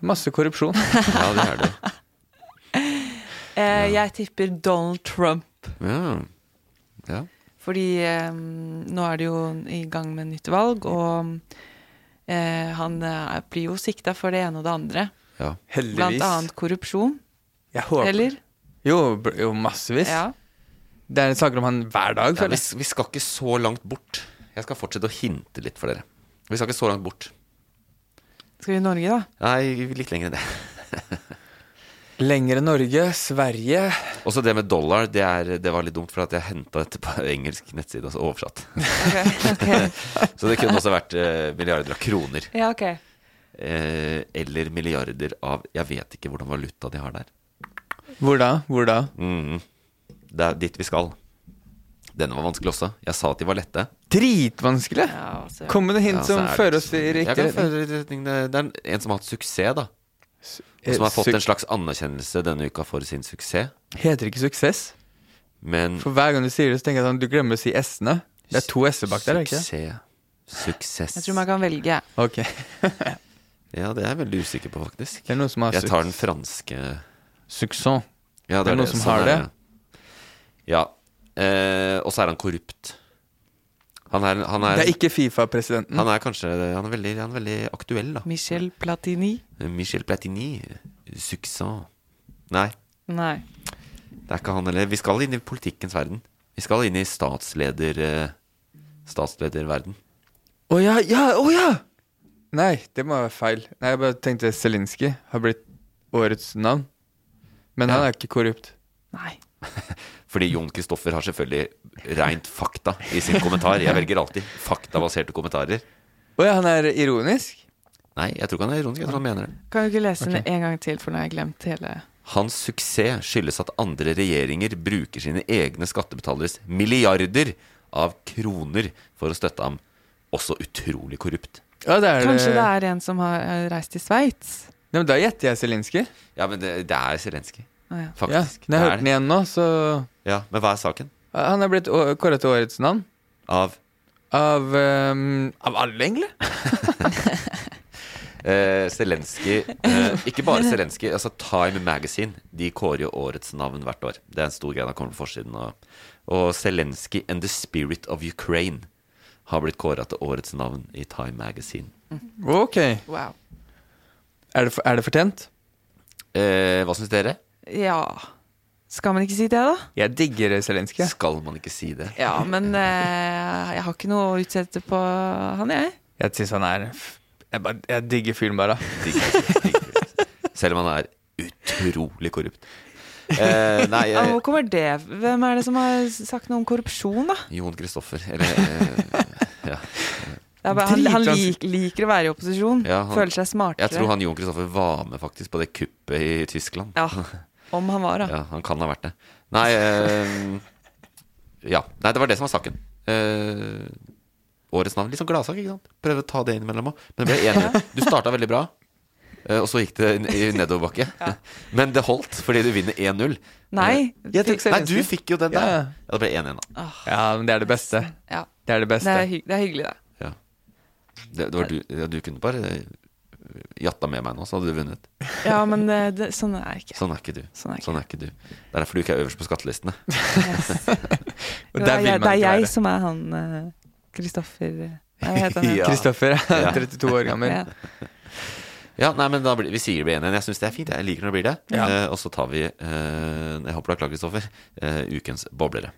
B: Masse korrupsjon.
A: Ja, det er det.
C: Eh, jeg tipper Donald Trump.
A: Ja. ja.
C: Fordi eh, nå er det jo i gang med nytt valg, og eh, han eh, blir jo sikta for det ene og det andre.
A: ja.
C: Blant annet korrupsjon,
B: Jeg håper.
C: eller?
B: Jo, br- jo, massevis.
C: Ja.
B: Det er saker om han hver dag,
A: Nei,
B: føler
A: vi,
B: jeg.
A: vi skal ikke så langt bort. Jeg skal fortsette å hinte litt for dere. Vi skal ikke så langt bort.
C: Skal vi i Norge, da?
A: Nei, litt lenger enn det.
B: Lenger enn Norge, Sverige
A: Også det med dollar, det, er, det var litt dumt, for at jeg henta dette på engelsk nettside og så oversatt.
C: Ok, ok.
A: Så det kunne også vært eh, milliarder av kroner.
C: Ja, ok.
A: Eh, eller milliarder av Jeg vet ikke hvordan valuta de har der.
B: Hvor da? Hvor da?
A: Mhm. Det er dit vi skal. Denne var vanskelig også. Jeg sa at de var lette.
B: Dritvanskelig!
C: Ja, altså.
B: Kom med noen hint
A: Ja, så
B: som
A: er det- liksom-
B: fører oss i
A: Jeg
B: riktig
A: kan
B: retning.
A: føre i retning. eh, Det det er en som har hatt suksess, da. Og
B: Eh,
A: som har fått
B: suk-
A: en slags anerkjennelse denne uka for sin suksess.
B: Heter det ikke suksess?
A: Men
B: For hver gang du sier det, så tenker jeg sånn, du glemmer å si s-ene. Det er to s-er bak der, er det ikke? det?
A: suksess Suksess.
C: Jeg tror man kan velge.
B: Ok. Det
A: Ja, det er jeg veldig usikker på, faktisk.
B: er noen som har
A: Jeg tar den franske
B: suksess.
A: Ja,
B: Det er noen som har
A: er
B: det.
A: Ja. Eh, og så er han korrupt. Han er, han er,
B: Det er ikke Fifa-presidenten.
A: han er kanskje han er, veldig, han er veldig aktuell, da.
C: Michel Platini?
A: Michel Platini. Suksess. Nei,
C: Nei.
A: det er ikke han heller. Vi skal inn i politikkens verden. Vi skal inn i statsleder... eh, Statslederverden.
B: Å ja, ja, å ja! Nei, det må være feil. Nei, Jeg bare tenkte Zelinskyj har blitt årets navn. Men han
A: Ja.
B: er ikke korrupt.
C: Nei.
A: Fordi Jon Kristoffer har selvfølgelig rent fakta i sin kommentar. Jeg velger alltid faktabaserte kommentarer.
B: Å ja, han er ironisk?
A: Nei, jeg tror ikke han er ironisk. Jeg tror han mener det.
C: Kan du ikke lese den en gang til, for nå har jeg glemt hele
A: Hans suksess skyldes at andre regjeringer bruker sine egne skattebetaleres milliarder av kroner for å støtte ham. Også utrolig korrupt.
B: Ja, det er
C: Kanskje det
B: det.
C: er en som har eh, reist til Sveits?
B: Nei, men da gjetter jeg Zelinskyj.
A: Ja, men det, det er Zelenskyj,
C: Å ja.
B: Ja,
A: faktisk.
B: når jeg
A: Det
B: hørte
A: er
B: den
A: det.
B: igjen nå, så
A: ja, men hva er saken?
B: Han er blitt å- kåret til årets navn
A: Av
B: av ehm, Av alle, egentlig?
A: eh, Zelenskyj eh, Ikke bare Zelenskyj, altså Time Magazine. De kårer jo årets navn hvert år. Det er en stor greie. Den kommer på forsiden. Og, og Zelenskyj and the Spirit of Ukraine har blitt kåra til årets navn i Time Magazine.
B: Ok.
C: Wow.
B: Er det, for- er det fortjent?
A: Eh, hva syns dere?
C: Ja. Skal man ikke si det, da?
B: Jeg digger Zelinskyj.
A: Skal man ikke si det?
C: Ja, men eh, jeg har ikke noe å utsette på han, jeg.
B: Jeg syns han er f- jeg, bare, jeg digger fyren, bare.
A: Digg fyr, digg fyr. Selv om han er utrolig korrupt. Eh, nei,
C: Ja,
A: eh,
C: hvor kommer det Hvem er det som har sagt noe om korrupsjon, da?
A: Jon Kristoffer. Eller eh, ja.
C: Det er bare, han han
B: Dritrans-
C: lik, liker å være i opposisjon.
A: Ja, han-
C: føler seg smartere.
A: Jeg tror han Jon Kristoffer var med faktisk på det kuppet i Tyskland.
C: Ja, om han var, da.
A: Ja, han kan ha vært det. Nei, eh, ja. nei det var det som var saken. Eh, årets navn. Litt sånn gladsak, ikke sant? Prøve å ta det innimellom òg. Men jeg ble enig. Du starta veldig bra, eh, og så gikk det i i nedoverbakke. Men det holdt, fordi du vinner 1-0.
C: Nei,
A: Eh,
C: jeg fikk
A: nei,
C: Zelenskyj.
A: du fikk jo den der.
B: Ja.
A: Ja, det ble 1-1, da.
B: Ja, men det er det beste.
C: Ja.
B: Det er det
C: Det,
B: beste.
C: er hygg, det er hyggelig, det.
A: Ja. Det, det var du, ja, du kunne bare eh, jatta med meg nå, så hadde du vunnet.
C: Ja, men eh, det, sånn er jeg ikke.
A: Sånn er ikke du.
C: Sånn er ikke
A: du. Det er derfor du ikke er øverst på skattelistene.
C: Jo,
B: der vil man
C: det er jeg, det er
B: ikke være.
C: jeg som er han eh, Kristoffer eh, Nei, hva heter han?
A: Ja.
B: Kristoffer er
A: Ja.
B: 32 år gammel.
C: Ja.
A: Ja, nei, men da blir, Vi sier det blir 1-1. Jeg syns det er fint. Jeg liker når det blir det.
B: Ja.
A: Eh, og så tar vi, eh, jeg håper du er klar, Kristoffer, eh, ukens boblere.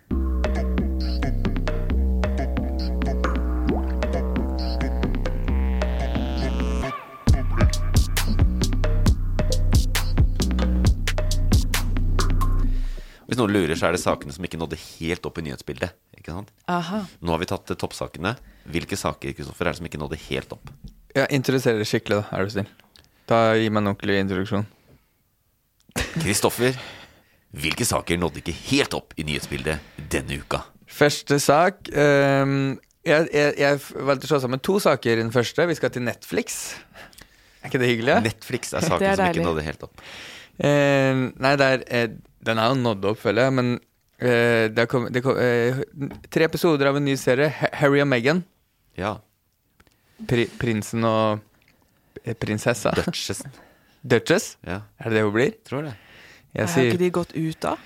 A: Hvis noen lurer, så er det sakene som ikke nådde helt opp i nyhetsbildet. Ikke sant?
C: Aha.
A: Nå har vi tatt eh, toppsakene. Hvilke saker Kristoffer, er det som ikke nådde helt opp?
B: Ja, Introduser det skikkelig, da, er du snill. Da Gi meg en ordentlig introduksjon.
A: Kristoffer, hvilke saker nådde ikke helt opp i nyhetsbildet denne uka?
B: Første sak ehm, jeg, jeg, jeg valgte å slå sammen to saker i den første. Vi skal til Netflix. Er ikke det hyggelig? da?
A: Netflix er saken som ikke nådde helt opp.
B: Eh, nei, det er, eh, den er jo nådd opp, føler jeg, men eh, det har kommet- det kom, eh, tre episoder av en ny serie, Ha- Harry og Meghan.
A: Ja.
B: Pri, prinsen og eh, prinsessa.
A: Duchessen.
B: Duchess?
A: Ja.
B: Er det det hun blir?
A: Tror det.
B: Jeg
C: Har
B: sier,
C: ikke de gått ut da?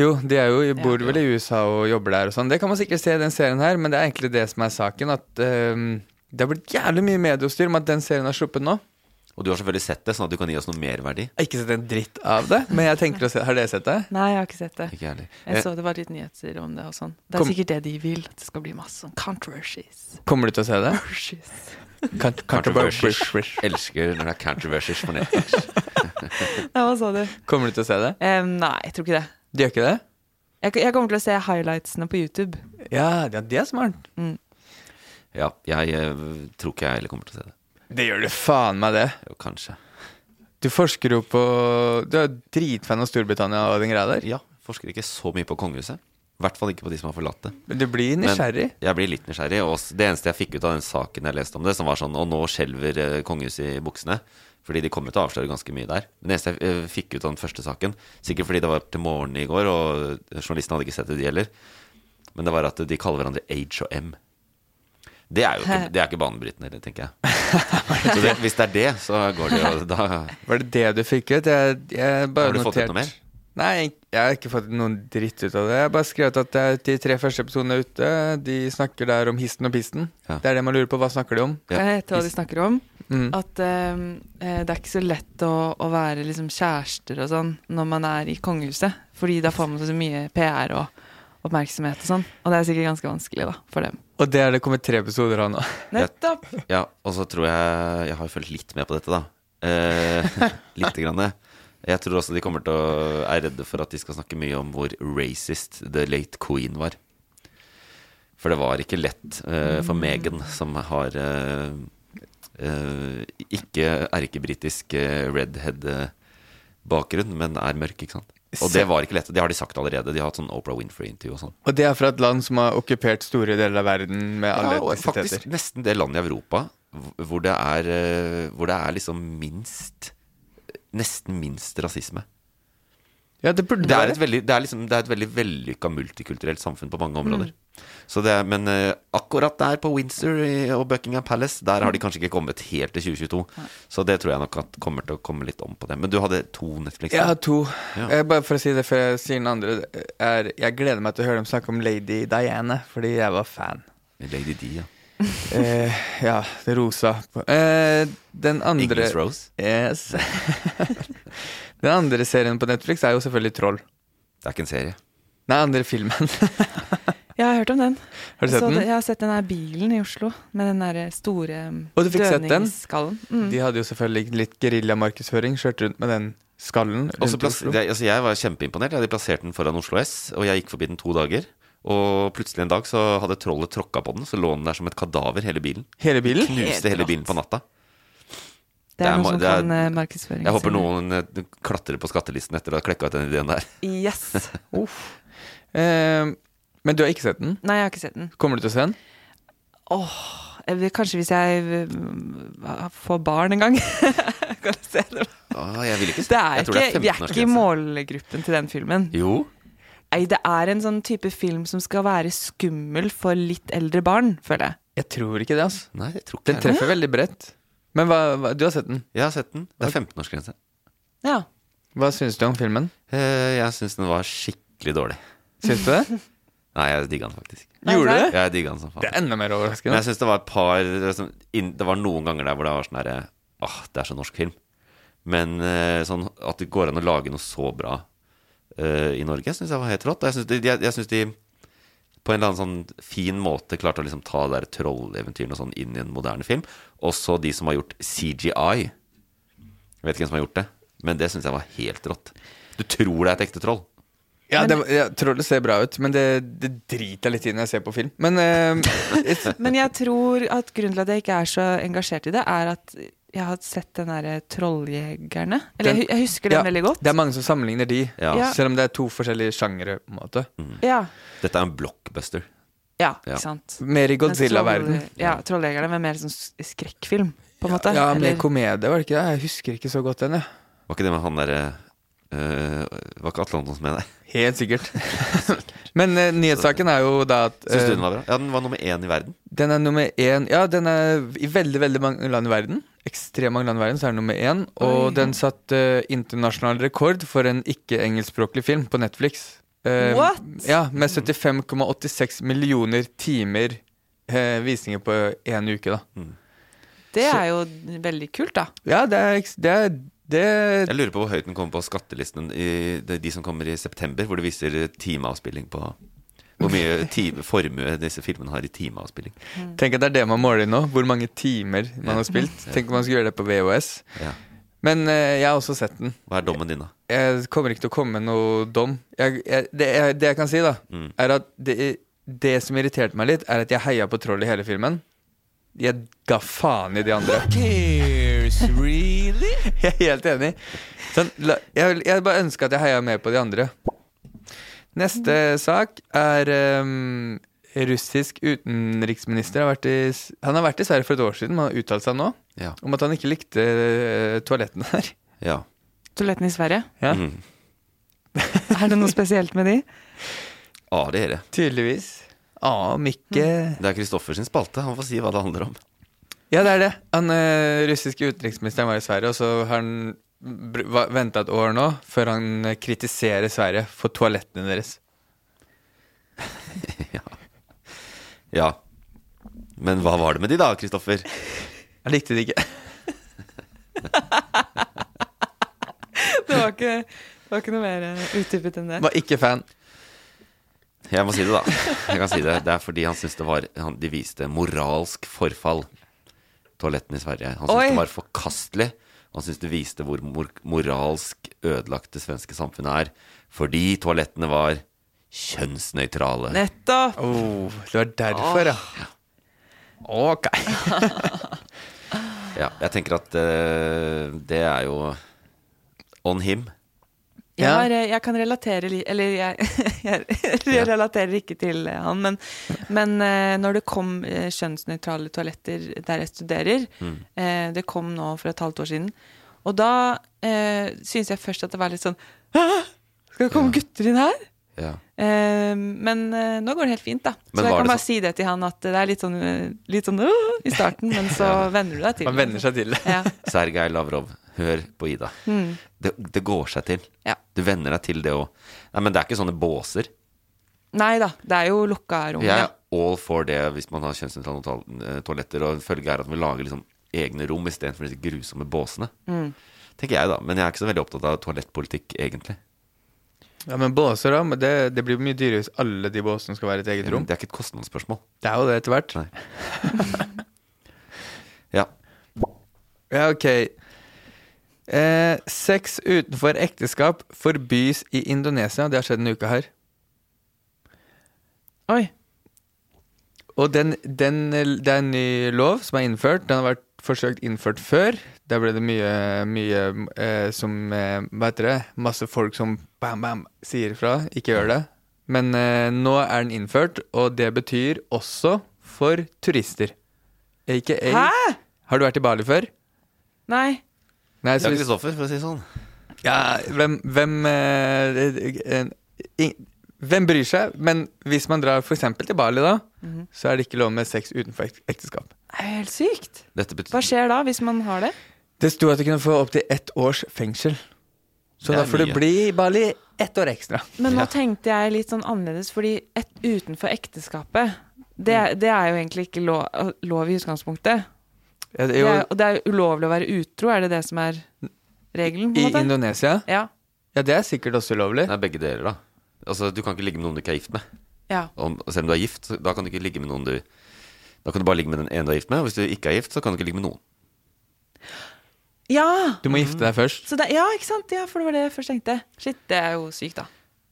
B: jo, de er jo, bor vel i USA og jobber der og sånn. Det kan man sikkert se i den serien her, men det er egentlig det som er saken. At eh, det har blitt jævlig mye mediestyr om at den serien har sluppet nå.
A: Og du har selvfølgelig sett det, sånn at du kan gi oss noe merverdi.
B: Jeg har ikke sett en dritt av det, men jeg tenker å se Har dere sett det?
C: Nei, jeg har ikke sett det.
A: Ikke jeg heller.
C: Jeg
A: Eh,
C: så det var litt nyheter om det og sånn. Det er
B: Kom-
C: sikkert det de vil, at det skal bli masse sånn controversies.
B: Kommer du til å se det?
C: Controversies.
B: Kan-
A: Controversies. Elsker når det er controversies på Netflix.
C: Nei, hva sa du?
B: Kommer du til å se det?
C: Em, nei, jeg tror ikke det.
B: De gjør ikke det?
C: Jeg, jeg kommer til å se highlightsene på YouTube.
B: Ja, ja, det er smart.
A: Ja, jeg eh, tror ikke jeg heller kommer til å se det.
B: Det gjør du faen meg, det.
A: Jo, kanskje.
B: Du forsker jo på Du er dritfan av Storbritannia og den greia der.
A: Ja, forsker ikke så mye på kongehuset. I hvert fall ikke på de som har forlatt det.
B: Men Du blir nysgjerrig.
A: Men jeg blir litt nysgjerrig. Og s- det eneste jeg fikk ut av den saken jeg leste om det, som var sånn Og nå skjelver eh, kongehuset i buksene. Fordi de kommer til å avsløre ganske mye der. Men det eneste jeg eh, fikk ut av den første saken, sikkert fordi det var til morgenen i går, og journalisten hadde ikke sett det, de heller, men det var at de kaller hverandre H og M. Det er jo ikke, det er ikke banebrytende, det tenker jeg. Så det, hvis det er det, så går det jo da
B: Var det det du fikk ut? Jeg, jeg bare
A: Har du fått ut
B: notert-
A: noe mer?
B: Nei, jeg, jeg har ikke fått noen dritt ut av det. Jeg har bare skrevet at det er de tre første episodene er ute. De snakker der om histen og pisten.
A: Ja.
B: Det er det man lurer på. Hva snakker de om?
A: Ja.
C: Kan jeg gjette hva de snakker om?
B: Mm.
C: At em, eh, det er ikke så lett å, å være liksom kjærester og sånn når man er i kongehuset. Fordi da får man så mye PR og oppmerksomhet og sånn. Og det er sikkert ganske vanskelig da, for dem.
B: Og det er det kommet tre episoder av nå.
C: Nettopp!
A: Ja, og så tror jeg Jeg har jo fulgt litt med på dette, da. Eh, Lite grann. eh. Jeg tror også de kommer til å er redde for at de skal snakke mye om hvor racist the late queen var. For det var ikke lett eh, for Meghan, som har eh, eh, ikke erkebritisk eh, redhead-bakgrunn, men er mørk, ikke sant. Og det var ikke lett. Det har de sagt allerede. De har hatt sånn Oprah Winfrey-intervju og sånn.
B: Og det er fra et land som har okkupert store deler av verden med alle
A: Ja, og faktisk
B: etnisiteter.
A: nesten det landet i Europa hvor- hvor det er, eh, hvor det er liksom minst Nesten minst rasisme.
B: Ja, det burde
A: Det er et veldig, det er liksom, det er et veldig vellykka multikulturelt samfunn på mange områder. Så det er, men eh, akkurat der på Windsor i- og Buckingham Palace, der har de kanskje ikke kommet helt til 2022. Så det tror jeg nok at kommer til å komme litt om på det. Men du hadde to Netflix?
B: Jeg har to.
A: Ja.
B: Eh, Bare for å si det før jeg sier den andre, er jeg gleder meg til å høre dem snakke om Lady Diana, fordi jeg var fan.
A: Lady D, ja.
B: Eh, ja, det rosa. Eh, den andre
A: Ignis Rose.
B: Yes. den andre serien på Netflix er jo selvfølgelig Troll.
A: Det er ikke en serie.
B: Nei, andre filmen.
C: Jeg har hørt om den.
B: Har du
C: Jeg
B: sett
C: så det-
B: den?
C: Jeg har sett den her bilen i Oslo med den der store um,
B: Og du fikk sett den?
C: dødningsskallen. Mm.
B: De hadde jo selvfølgelig litt geriljamarkedsføring, kjørte rundt med den skallen
A: Og så
B: rundt i
A: plass,
B: Oslo.
A: det, altså jeg var kjempeimponert. Jeg hadde plassert den foran Oslo S, og jeg gikk forbi den to dager. Og plutselig en dag så hadde trollet tråkka på den, så lå den der som et kadaver, hele bilen.
B: Hele bilen?
A: Knuste hele bilen på natta.
C: Det er
A: det er
C: noe
A: ma-
C: som
A: det er-
C: kan uh, markedsføring.
A: Jeg håper noen eh, klatrer på skattelisten etter å ha klekka ut den ideen der.
C: Yes.
B: Uff. Eh, men du har ikke sett den?
C: Nei, jeg har ikke sett den.
B: Kommer du til å se den?
C: Jeg vil- Kanskje hvis jeg um, får barn en gang. kan jeg se den.
A: Å, jeg vil ikke
C: Det er
A: jeg tror det
C: ikke, vi er ikke i
A: 15-årsgrense.
C: målgruppen til den filmen.
A: Jo.
C: Nei, det er en sånn type film som skal være skummel for litt eldre barn, føler jeg.
B: Jeg tror ikke det, altså.
A: Nei, jeg tror ikke
B: Den
A: jeg
B: treffer veldig bredt. Men hva, hva, du har sett den.
A: Jeg har sett den. Det er 15-årsgrense.
C: Ja.
B: Hva syns du om filmen?
A: Eh, Jeg syns den var skikkelig dårlig.
B: Syns du det?
A: Nei, jeg digga den faktisk.
B: Gjorde du det?
A: Jeg digga den som faen.
B: Det er enda mer
A: Men
B: overraskende.
A: jeg syns det var et par det som- inn- Det var noen ganger der hvor det var sånn herre Åh, det er så norsk film. Men eh, sånn at det går an å lage noe så bra eh, i Norge, syns jeg var helt rått. Og jeg syns de, jeg, jeg synes de på en eller annen sånn fin måte klarte å liksom ta det der trolleventyrene og sånn inn i en moderne film. Også de som har gjort CGI. Jeg vet ikke hvem som har gjort det, men det syns jeg var helt rått. Du tror det er et ekte troll.
B: Ja, det, var- jeg tror det ser bra ut, men det, det driter jeg litt i når jeg ser på film. Men eh, it's-
C: Men jeg tror at grunnen til at jeg ikke er så engasjert i det, er at jeg har sett den derre Trolljegerne. Eller jeg hu- jeg husker
B: ja,
C: den veldig godt.
B: Det er mange som sammenligner de,
A: Ja.
C: Ja.
B: selv om det er to forskjellige sjangere. på en måte
C: Ja,
A: Dette er en blockbuster.
C: ja,
A: Ja.
C: ikke sant.
B: Mer i
C: Mens
B: Godzilla-verden.
C: Troll- Ja, Trolljegerne var mer sånn s- skrekkfilm. på en måte?
B: Ja,
C: Eller-
B: mer komedie, var det ikke det? Jeg husker ikke så godt den, jeg.
A: Var ikke det med han derre øh, Var ikke Atle Antonsen med der?
B: Helt sikkert. Men eh, nyhetssaken er jo da at
A: Syns
B: eh,
A: du den var bra? Ja, den var nummer én i verden.
B: Den er nummer én Ja, den er i veldig, veldig mange land i verden. Ekstremt mange land i verden, så er den nummer én. Og
C: Oi.
B: den satte eh, internasjonal rekord for en ikke-engelskspråklig film på Netflix. Eh,
C: What?
B: Ja, med 75,86 millioner timer eh, visninger på én uke, da.
C: Det er jo veldig kult, da.
B: Ja, det er, eks- det er det,
A: Jeg lurer på hvor høyt den kommer på skattelisten i det er de som kommer i september, hvor det viser timeavspilling på Hvor mye time, formue disse filmene har i timeavspilling.
C: Mm.
B: Tenk at det er det man måler nå. Hvor mange timer man har spilt. Tenk om man skulle gjøre det på VHS.
A: Ja.
B: Men eh, jeg har også sett den.
A: Hva er dommen din, da?
B: jeg kommer ikke til å komme med noe dom. Jeg, jeg, det, jeg, det jeg kan si, da,
A: Mm.
B: er at det, det som irriterte meg litt, er at jeg heia på troll i hele filmen. Jeg ga faen i de andre. Jeg er helt enig. Sånn, la, jeg, jeg bare ønsker at jeg heia mer på de andre. Neste sak er ehm, Russisk utenriksminister har vært i, S- Han har vært i Sverige for et år siden, men han har uttalt seg nå
A: Ja.
B: om at han ikke likte eh, toalettene her.
A: ja.
C: Toalettene i Sverige.
B: Ja,
A: Mm.
C: Er det noe spesielt med de?
A: Ah, det er det.
B: Tydeligvis. Ah, Mikke
A: Det er Kristoffer sin spalte. Han får si hva det handler om.
B: Ja, det er det. Han eh, russiske utenriksministeren var i Sverige, og så har han venta et år nå før han eh, kritiserer Sverige for toalettene deres.
A: Ja. Men hva var det med de, da, Kristoffer?
B: Jeg likte det ikke.
C: Det var ikke, det var ikke noe mer eh, utdypet enn det.
B: Var ikke fan.
A: Jeg må si det, da. Jeg kan si Det Det er fordi han syns det var han, De viste moralsk forfall, toalettene i Sverige. Han
C: Oi.
A: syns det var forkastelig. Han syns det viste hvor mor moralsk ødelagt det svenske samfunnet er. Fordi toalettene var kjønnsnøytrale.
C: Nettopp!
B: Oh, det var derfor,
A: Ah.
B: ja. Ok.
A: Ja, jeg tenker at eh, det er jo on him.
C: Jeg,
B: Ja.
C: har, eh, jeg kan relatere li- Eller jeg, jeg relaterer ikke til eh, han, men, men eh, når det kom eh, kjønnsnøytrale toaletter der jeg studerer eh, Det kom nå for et halvt år siden. Og da eh, syntes jeg først at det var litt sånn Hæ? Skal det komme gutter inn her?
A: Ja.
C: Eh, men eh, nå går det helt fint, da.
A: Men
C: så jeg
A: var
C: kan
A: det
C: bare
A: så-
C: si det til han at det er litt sånn, eh, litt sånn «Åh!» i starten, men så venner du deg til.
B: Man venner seg til det.
C: Ja. Hmm.
A: Sergej Lavrov, hør på Ida. Det, det går seg til.
C: Ja.
A: Du venner deg til det òg. Nei, men det er ikke sånne båser.
C: Nei da, det er jo lukka rom.
A: Jeg
C: Ja.
A: er all for det hvis man har kjønnsnøytrale toal- eh, toaletter, og en følge er at vi lager liksom egne rom istedenfor disse grusomme båsene.
C: Hmm.
A: Tenker jeg, da. Men jeg er ikke så veldig opptatt av toalettpolitikk, egentlig.
B: Ja, Men båser, da? Men det, det blir mye dyrere hvis alle de båsene skal være i et eget rom.
A: Det er ikke et kostnadsspørsmål.
B: Det er jo det etter hvert.
A: Nei. Ja.
B: Ja, ok. Eh, sex utenfor ekteskap forbys i Indonesia. Det har skjedd denne uka her.
C: Oi.
B: Og den, den, det er en ny lov som er innført. Den har vært forsøkt innført før. Der ble det mye, mye eh, som eh, Hva heter det? Masse folk som bam, bam sier fra. Ikke gjør det. Men eh, nå er den innført, og det betyr også for turister. Aka
C: Hæ?
B: Har du vært i Bali før?
C: Nei.
B: Nei,
A: Ja, Kristoffer, for å si det sånn.
B: Ja, hvem hvem, eh, en- ing- hvem bryr seg? Men hvis man drar f.eks. til Bali, da,
A: Mhm.
B: så er det ikke lov med sex utenfor ek- ekteskap.
C: Det er jo helt sykt.
A: Dette
C: Hva
A: betyr
C: skjer da hvis man har det?
B: Det sto at du kunne få opptil ett års fengsel. Så
A: Det
B: da
A: er
B: får du
A: mye.
B: bli i Bali ett år ekstra.
C: Men nå
A: Ja.
C: tenkte jeg litt sånn annerledes, fordi et, utenfor ekteskapet det, er- det er jo egentlig ikke lov, lov i utgangspunktet.
B: Ja, det
C: Det
B: er
C: er,
B: jo,
C: og det er jo ulovlig å være utro, er det det som er regelen?
B: I
C: På en måte?
B: Indonesia?
C: Ja.
B: Ja, det er sikkert også ulovlig.
A: Det er begge deler, da. Altså, du kan ikke ligge med noen du ikke er gift med.
C: ja.
A: Om, selv om du er gift, så, da kan du ikke ligge med noen du Da kan du bare ligge med den ene du er gift med, og hvis du ikke er gift, så kan du ikke ligge med noen.
C: Ja!
B: Du må gifte deg først.
C: Så det, ja, ikke sant? Ja, for det var det jeg først tenkte. Shit, det er jo sykt, da.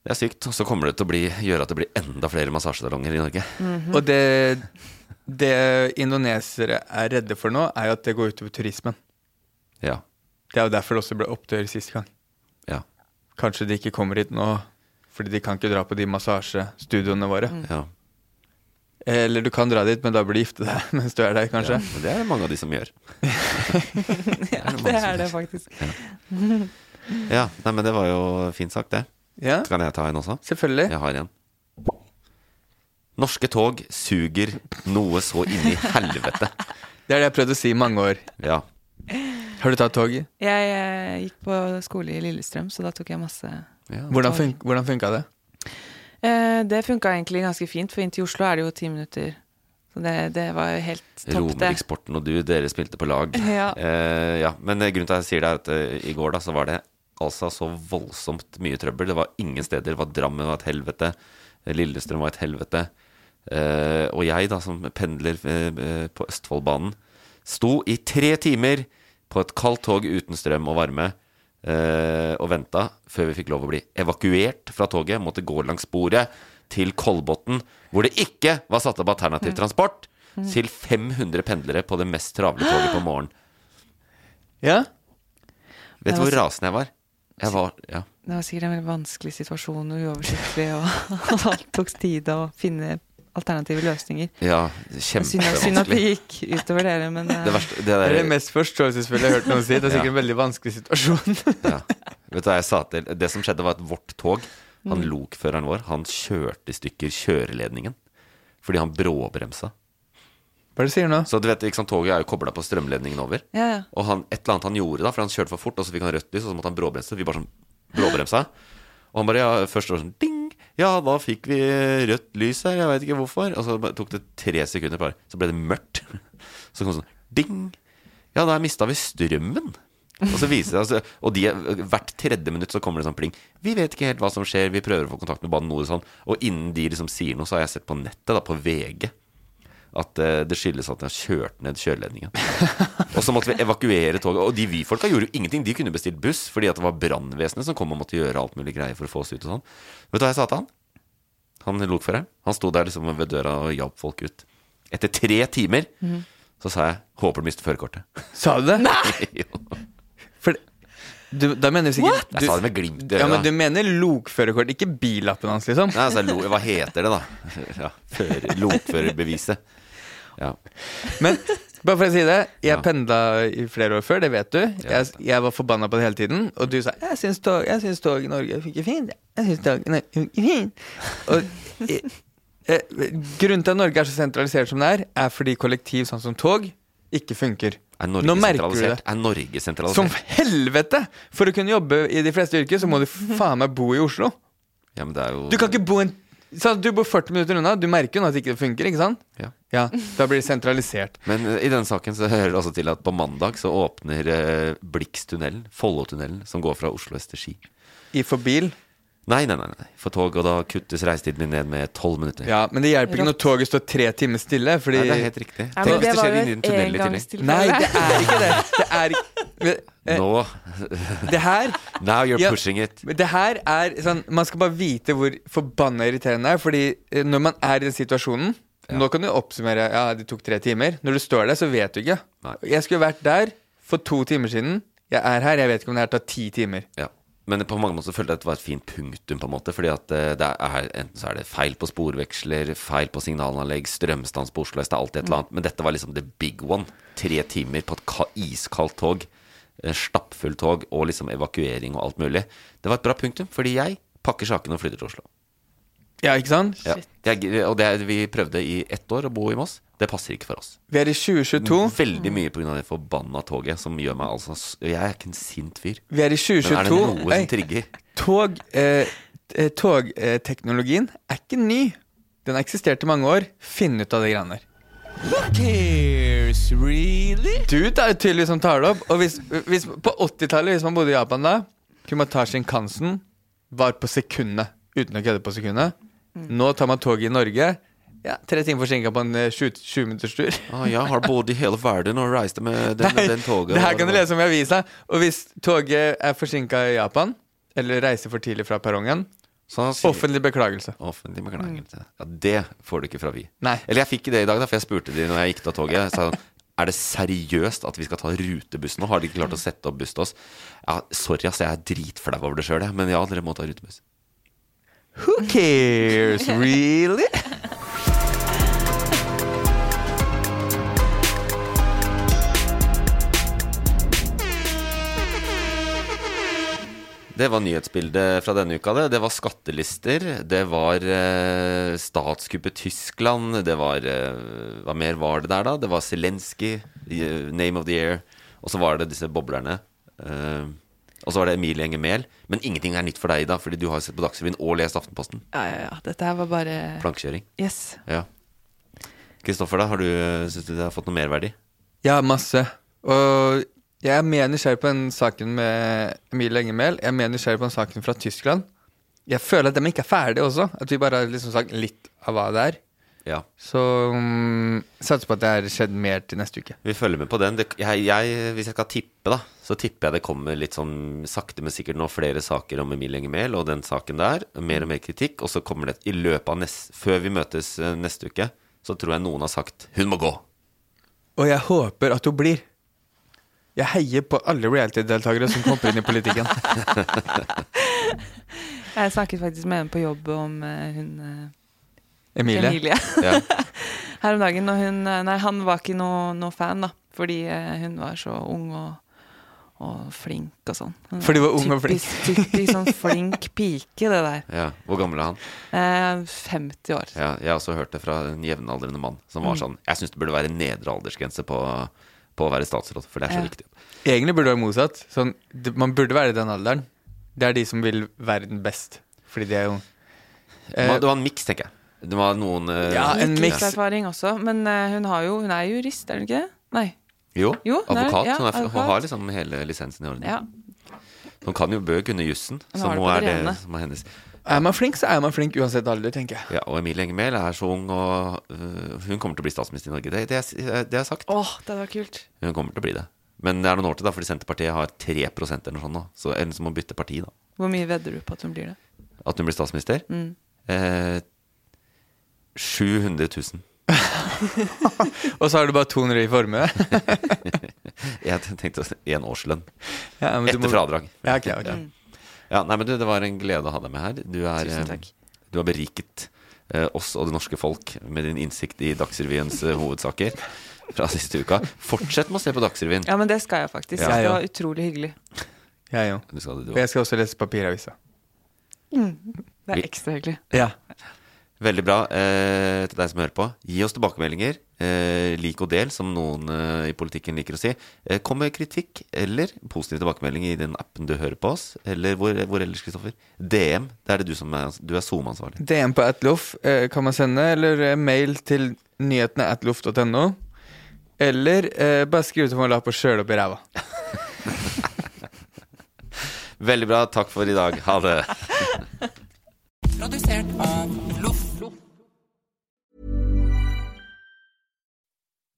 A: Det er sykt. og Så kommer det til å bli, gjøre at det blir enda flere massasjesalonger i Norge.
B: Og det, det indonesere er redde for nå, er jo at det går utover turismen.
A: Ja.
B: Det er jo derfor det også ble opptøyer sist gang.
A: Ja.
B: Kanskje de ikke kommer hit nå fordi de kan ikke dra på de massasjestudioene våre.
A: ja.
B: Eller du kan dra dit, men da blir du gifte deg mens du er der, kanskje.
A: Men det er det mange av de som gjør.
C: ja, det er det faktisk.
A: Ja, nei, men det var jo fint sagt, det.
B: Ja.
A: Kan jeg ta en også?
B: Selvfølgelig.
A: Jeg har en. Norske tog suger noe så inn i helvete.
B: Det er det jeg har prøvd å si i mange år.
A: Ja.
B: Har du tatt toget?
C: Jeg eh, gikk på skole i Lillestrøm, så da tok jeg masse
B: Hvordan, fun hvordan funka det?
C: eh, Det funka egentlig ganske fint, for inn til Oslo er det jo ti minutter. Så det, det var jo helt topp, det.
A: Romeriksporten og du, dere spilte på lag.
C: Ja.
A: Eh, ja. Men eh, grunnen til at jeg sier det, er at eh, i går da, så var det altså så voldsomt mye trøbbel. Det var ingen steder. Det var Drammen var et helvete. eh, Lillestrøm var et helvete. Eh, og jeg, da, som pendler eh, eh, på Østfoldbanen, sto i tre timer på et kaldt tog uten strøm og varme. eh, og venta før vi fikk lov å bli evakuert fra toget. Måtte gå langs sporet til Kolbotn, hvor det ikke var satt opp alternativ transport. Til 500 pendlere på det mest travle toget på morgenen.
B: Ja?
A: Vet
C: Det
A: du hvor
C: var
A: rasende jeg var? Jeg var ja.
C: Det var sikkert en veldig vanskelig situasjon og uoversiktlig, og og alt tok tid å finne alternative løsninger.
A: ja
C: Synd at- synd at det
A: kjempevanskelig.
C: gikk utover dere, men eh,
A: Det verste det
B: Det er det
A: der,
B: mest forståelsesfulle jeg har hørt noen si. Det er sikkert en veldig vanskelig situasjon.
A: ja. Vet du hva jeg sa til Det som skjedde, var at vårt tog, han
C: Mm.
A: lokføreren vår, han kjørte i stykker kjøreledningen. Fordi han bråbremsa.
B: Hva er det du sier nå?
A: Så du vet, ikke sant, toget er jo kobla på strømledningen over.
C: ja, ja.
A: Og han, et eller annet han gjorde da, for han kjørte for fort, og så fikk han rødt lys, og så måtte han bråbremse. Vi bare sånn bråbremsa. Og han bare ja, først var det sånn ding. Ja, da fikk vi rødt lys her, jeg veit ikke hvorfor. Og så bare, tok det tre sekunder, bare. Så ble det mørkt. Så kom det sånn ding. Ja, der mista vi strømmen. Og så viser det altså, Og de, hvert tredje minutt så kommer det sånn pling. Vi vet ikke helt hva som skjer, vi prøver å få kontakt med Bane NOR og sånn. Og innen de liksom sier noe, så har jeg sett på nettet, da, på VG, at eh, det skyldes at de har kjørt ned kjøreledningen. Og så måtte vi evakuere toget. Og de Vy-folka gjorde jo ingenting. De kunne bestilt buss fordi at det var brannvesenet som kom og måtte gjøre alt mulig greier for å få oss ut og sånn. Vet du hva jeg sa til han? Han lokføreren. Han sto der liksom ved døra og hjalp folk ut. Etter tre timer så sa jeg 'håper du mister førerkortet'.
B: Sa du det?
A: Jo.
B: For du, da mener du sikkert
A: Jeg
B: du,
A: sa det med glimt i
B: Ja, men
A: øyet.
B: du mener lokførerkort, ikke billappen hans, liksom?
A: Nei, altså, lo- hva heter det, da? Ja, fører- Lokførerbeviset. Ja.
B: Men bare for å si det, jeg
A: Ja.
B: pendla i flere år før, det vet du. Jeg, jeg var forbanna på det hele tiden. Og du sa 'jeg syns tog, jeg syns tog i Norge funker fint'. Jeg syns tog i Norge funker fint. Og eh, eh, grunnen til at Norge er så sentralisert som det er, er fordi kollektiv sånn som tog ikke funker.
A: Er Norge
B: Nå merker du
A: sentralisert?
B: det.
A: Er Norge
B: Som
A: sentralisert?
B: helvete! For å kunne jobbe i de fleste yrker, så må du faen meg bo i Oslo.
A: Ja, men det er jo
B: Du kan ikke bo en så Du bor 40 minutter unna, du merker jo nå at ikke det funker, ikke sant?
A: Ja.
B: Ja, Da blir det sentralisert.
A: Men eh, i denne saken så hører det også til at på mandag så åpner eh, Blikstunnelen, Follotunnelen, som går fra Oslo øst til Ski.
B: I for bil.
A: Nei, nei, nei, nei, for tog, og da kuttes reisetiden min ned med tolv minutter.
B: Ja, men det hjelper ikke når
C: Rått.
B: toget står tre timer stille, fordi
A: Nei, det er helt riktig.
C: Ja,
A: Tenk hvis
C: men det
A: det
C: var
A: skjer
C: jo
A: inn i en
C: et
A: tunnel i tillegg.
C: engangstilfelle.
B: Nei, det er ikke det. Det er eh,
A: Nå
B: Det her
A: Now you're
B: Ja.
A: pushing it.
B: det her er sånn Man skal bare vite hvor forbanna irriterende det er, fordi eh, når man er i den situasjonen Nå kan du oppsummere Ja, det tok tre timer. Når du står der, så vet du ikke.
A: Nei.
B: Jeg skulle vært der for to timer siden. Jeg er her. Jeg vet ikke om det her tar ti timer.
A: Ja. Men på mange måter så følte jeg at det var et fint punktum, på en måte. Fordi at eh, det er, enten så er det feil på sporveksler, feil på signalanlegg, strømstans på Oslo S, det er alltid et eller annet. Men dette var liksom the big one. Tre timer på et ka- iskaldt tog, eh, stappfullt tog, og liksom evakuering og alt mulig. Det var et bra punktum, fordi jeg pakker sakene og flytter til Oslo.
B: Ja, ikke sant?
A: Ja. Jeg, og det, er- vi prøvde i ett år å bo i Moss. Det passer ikke for oss.
B: Vi er i 2022.
A: Veldig mye pga. det forbanna toget som gjør meg altså s- Jeg er ikke en sint fyr.
B: Vi er i
A: Men er det
B: 2022.
A: noe
B: Ei,
A: som trigger?
B: Tog, eh, eh, togteknologien er ikke ny. Den har eksistert i mange år. Finn ut av de greiene der. Du det er jo tydelig som tar det opp. Og hvis, hvis, på 80-tallet, hvis man bodde i Japan da, kunne man ta shinkansen var på sekundet. Uten å kødde på sekundet.
A: Mm.
B: Nå tar man toget i Norge. Ja, Tre timer forsinka på en eh, 20-minutterstur.
A: Ah, jeg har bodd i hele verden og reiste med den og den toget.
B: Det her kan
A: og-
B: du lese om i avisa. Og hvis toget er forsinka i Japan, eller reiser for tidlig fra perrongen,
A: Så han Sånn, sier-
B: offentlig beklagelse.
A: Offentlig beklagelse. Ja, det får du ikke fra Vy.
B: Nei.
A: Eller jeg fikk det i dag, da, for jeg spurte de når jeg gikk av toget. Jeg Sa, er det seriøst at vi skal ta rutebuss nå? Har de ikke klart å sette opp buss til oss? Ja, sorry, ass, jeg er dritflau over det sjøl, jeg. Men ja, dere må ta rutebuss.
B: Who cares, really?
A: Det var nyhetsbildet fra denne uka. Det Det var skattelister, det var eh, statskuppet Tyskland, det var eh, Hva mer var det der, da? Det var Zelenskyj, eh, Name of the Year, og så var det disse boblerne. Eh, og så var det Emilie Enger Mehl. Men ingenting er nytt for deg, Ida, fordi du har sett på Dagsrevyen og lest Aftenposten.
C: Ja, ja, ja. Dette her var bare
A: Plankekjøring.
C: Yes.
A: Ja. Kristoffer, da? Har du, Syns du det har fått noe merverdi?
B: Ja, masse. Og jeg er mer nysgjerrig på den saken med Emilie Engemel. Jeg er mer nysgjerrig på den saken fra Tyskland. Jeg føler at de ikke er ferdige også. At vi bare har liksom sagt litt av hva det er.
A: Ja.
B: Så mm, satser på at det har skjedd mer til neste uke.
A: Vi følger med på den. Det, jeg, jeg, hvis jeg skal tippe, da, så tipper jeg det kommer litt sånn sakte, men sikkert nå flere saker om Emilie Enger Mehl og den saken der. Mer og mer kritikk. Og så kommer det i løpet av nest, Før vi møtes eh, neste uke, så tror jeg noen har sagt 'hun må gå'.
B: Og jeg håper at hun blir. Jeg heier på alle reality-deltakere som kommer inn i politikken.
C: Jeg snakket faktisk med henne på jobb om eh, hun eh,
B: Emilie.
A: Ja.
C: Her om dagen, og hun eh, Nei, han var ikke noe, noe fan, da. Fordi eh, hun var så ung og, og flink og sånn. Hun
B: Fordi hun var ung og flink.
C: typisk, Typisk sånn flink pike, det der.
A: Ja. Hvor gammel er han?
C: Eh, 50 år.
A: Ja, jeg har også hørt det fra en jevnaldrende mann som
C: Mm.
A: var sånn Jeg syns det burde være nedre aldersgrense på, på å være statsråd, for det er så
C: Ja.
A: viktig.
B: Egentlig burde det være motsatt. Sånn, det, man burde være i den alderen. Det er de som vil verden best. Fordi de er jo
A: Det
B: eh,
A: var- det var en miks, tenker jeg. Det var noen eh,
B: Ja, en
C: Litt
B: mix.
C: livserfaring også, men eh, hun, har jo, hun er jurist, er hun ikke det? Nei.
A: Jo,
C: Jo, nei,
A: advokat.
C: ja,
A: hun, er, hun
C: advokat.
A: har liksom hele lisensen i orden.
C: Ja.
A: Hun kan jo bø kunne jussen,
C: Hun
A: så
C: har det
A: nå
C: på
A: er
C: det
A: det
C: rene.
A: som er hennes.
B: Er man flink, så er man flink uansett alder, tenker jeg.
A: Ja, og Emilie Enger Mehl er så ung, og øh, hun kommer til å bli statsminister i Norge. Det, det, er, øh, det er sagt.
C: Åh, det var kult.
A: Hun kommer til å bli det. Men det er noen år til, da, fordi Senterpartiet har 3 eller noe sånt nå. Så en som må bytte parti, da.
C: Hvor mye vedder du på at hun blir det?
A: At hun blir statsminister.
C: Mm.
A: Eh, 700 000.
B: Og så har du bare 200 i formue.
A: Jeg tenkte én årslønn.
B: Ja, men du
A: Etter
B: må-
A: fradrag.
B: Ja, ok, ok.
A: Ja, nei, men du, Det var en glede å ha deg med her. Du, er,
C: Tusen
A: eh,
C: takk.
A: du har beriket eh, oss og det norske folk med din innsikt i Dagsrevyens eh, hovedsaker fra siste uka. Fortsett med å se på Dagsrevyen.
C: Ja, men det skal jeg faktisk.
B: Ja.
C: Det var utrolig hyggelig.
B: Jeg òg.
A: Du skal, det, du
B: Og jeg skal også lese papiravisa.
C: Det
A: Vi-
C: er ekstra hyggelig.
B: Ja.
A: Veldig bra eh, til deg som hører på. Gi oss tilbakemeldinger. Eh, lik og del, som noen eh, i politikken liker å si. Eh, kom med kritikk eller positive tilbakemeldinger i den appen du hører på oss. Eller hvor, hvor ellers, Kristoffer? DM. Det er det du som er, du er SoMe-ansvarlig.
B: DM på atloff eh, kan man sende, eller eh, mail til nyhetene atloff.no. Eller eh, bare skriv til meg og la på sjøl opp i ræva.
A: Veldig bra. Takk for i dag. Ha det.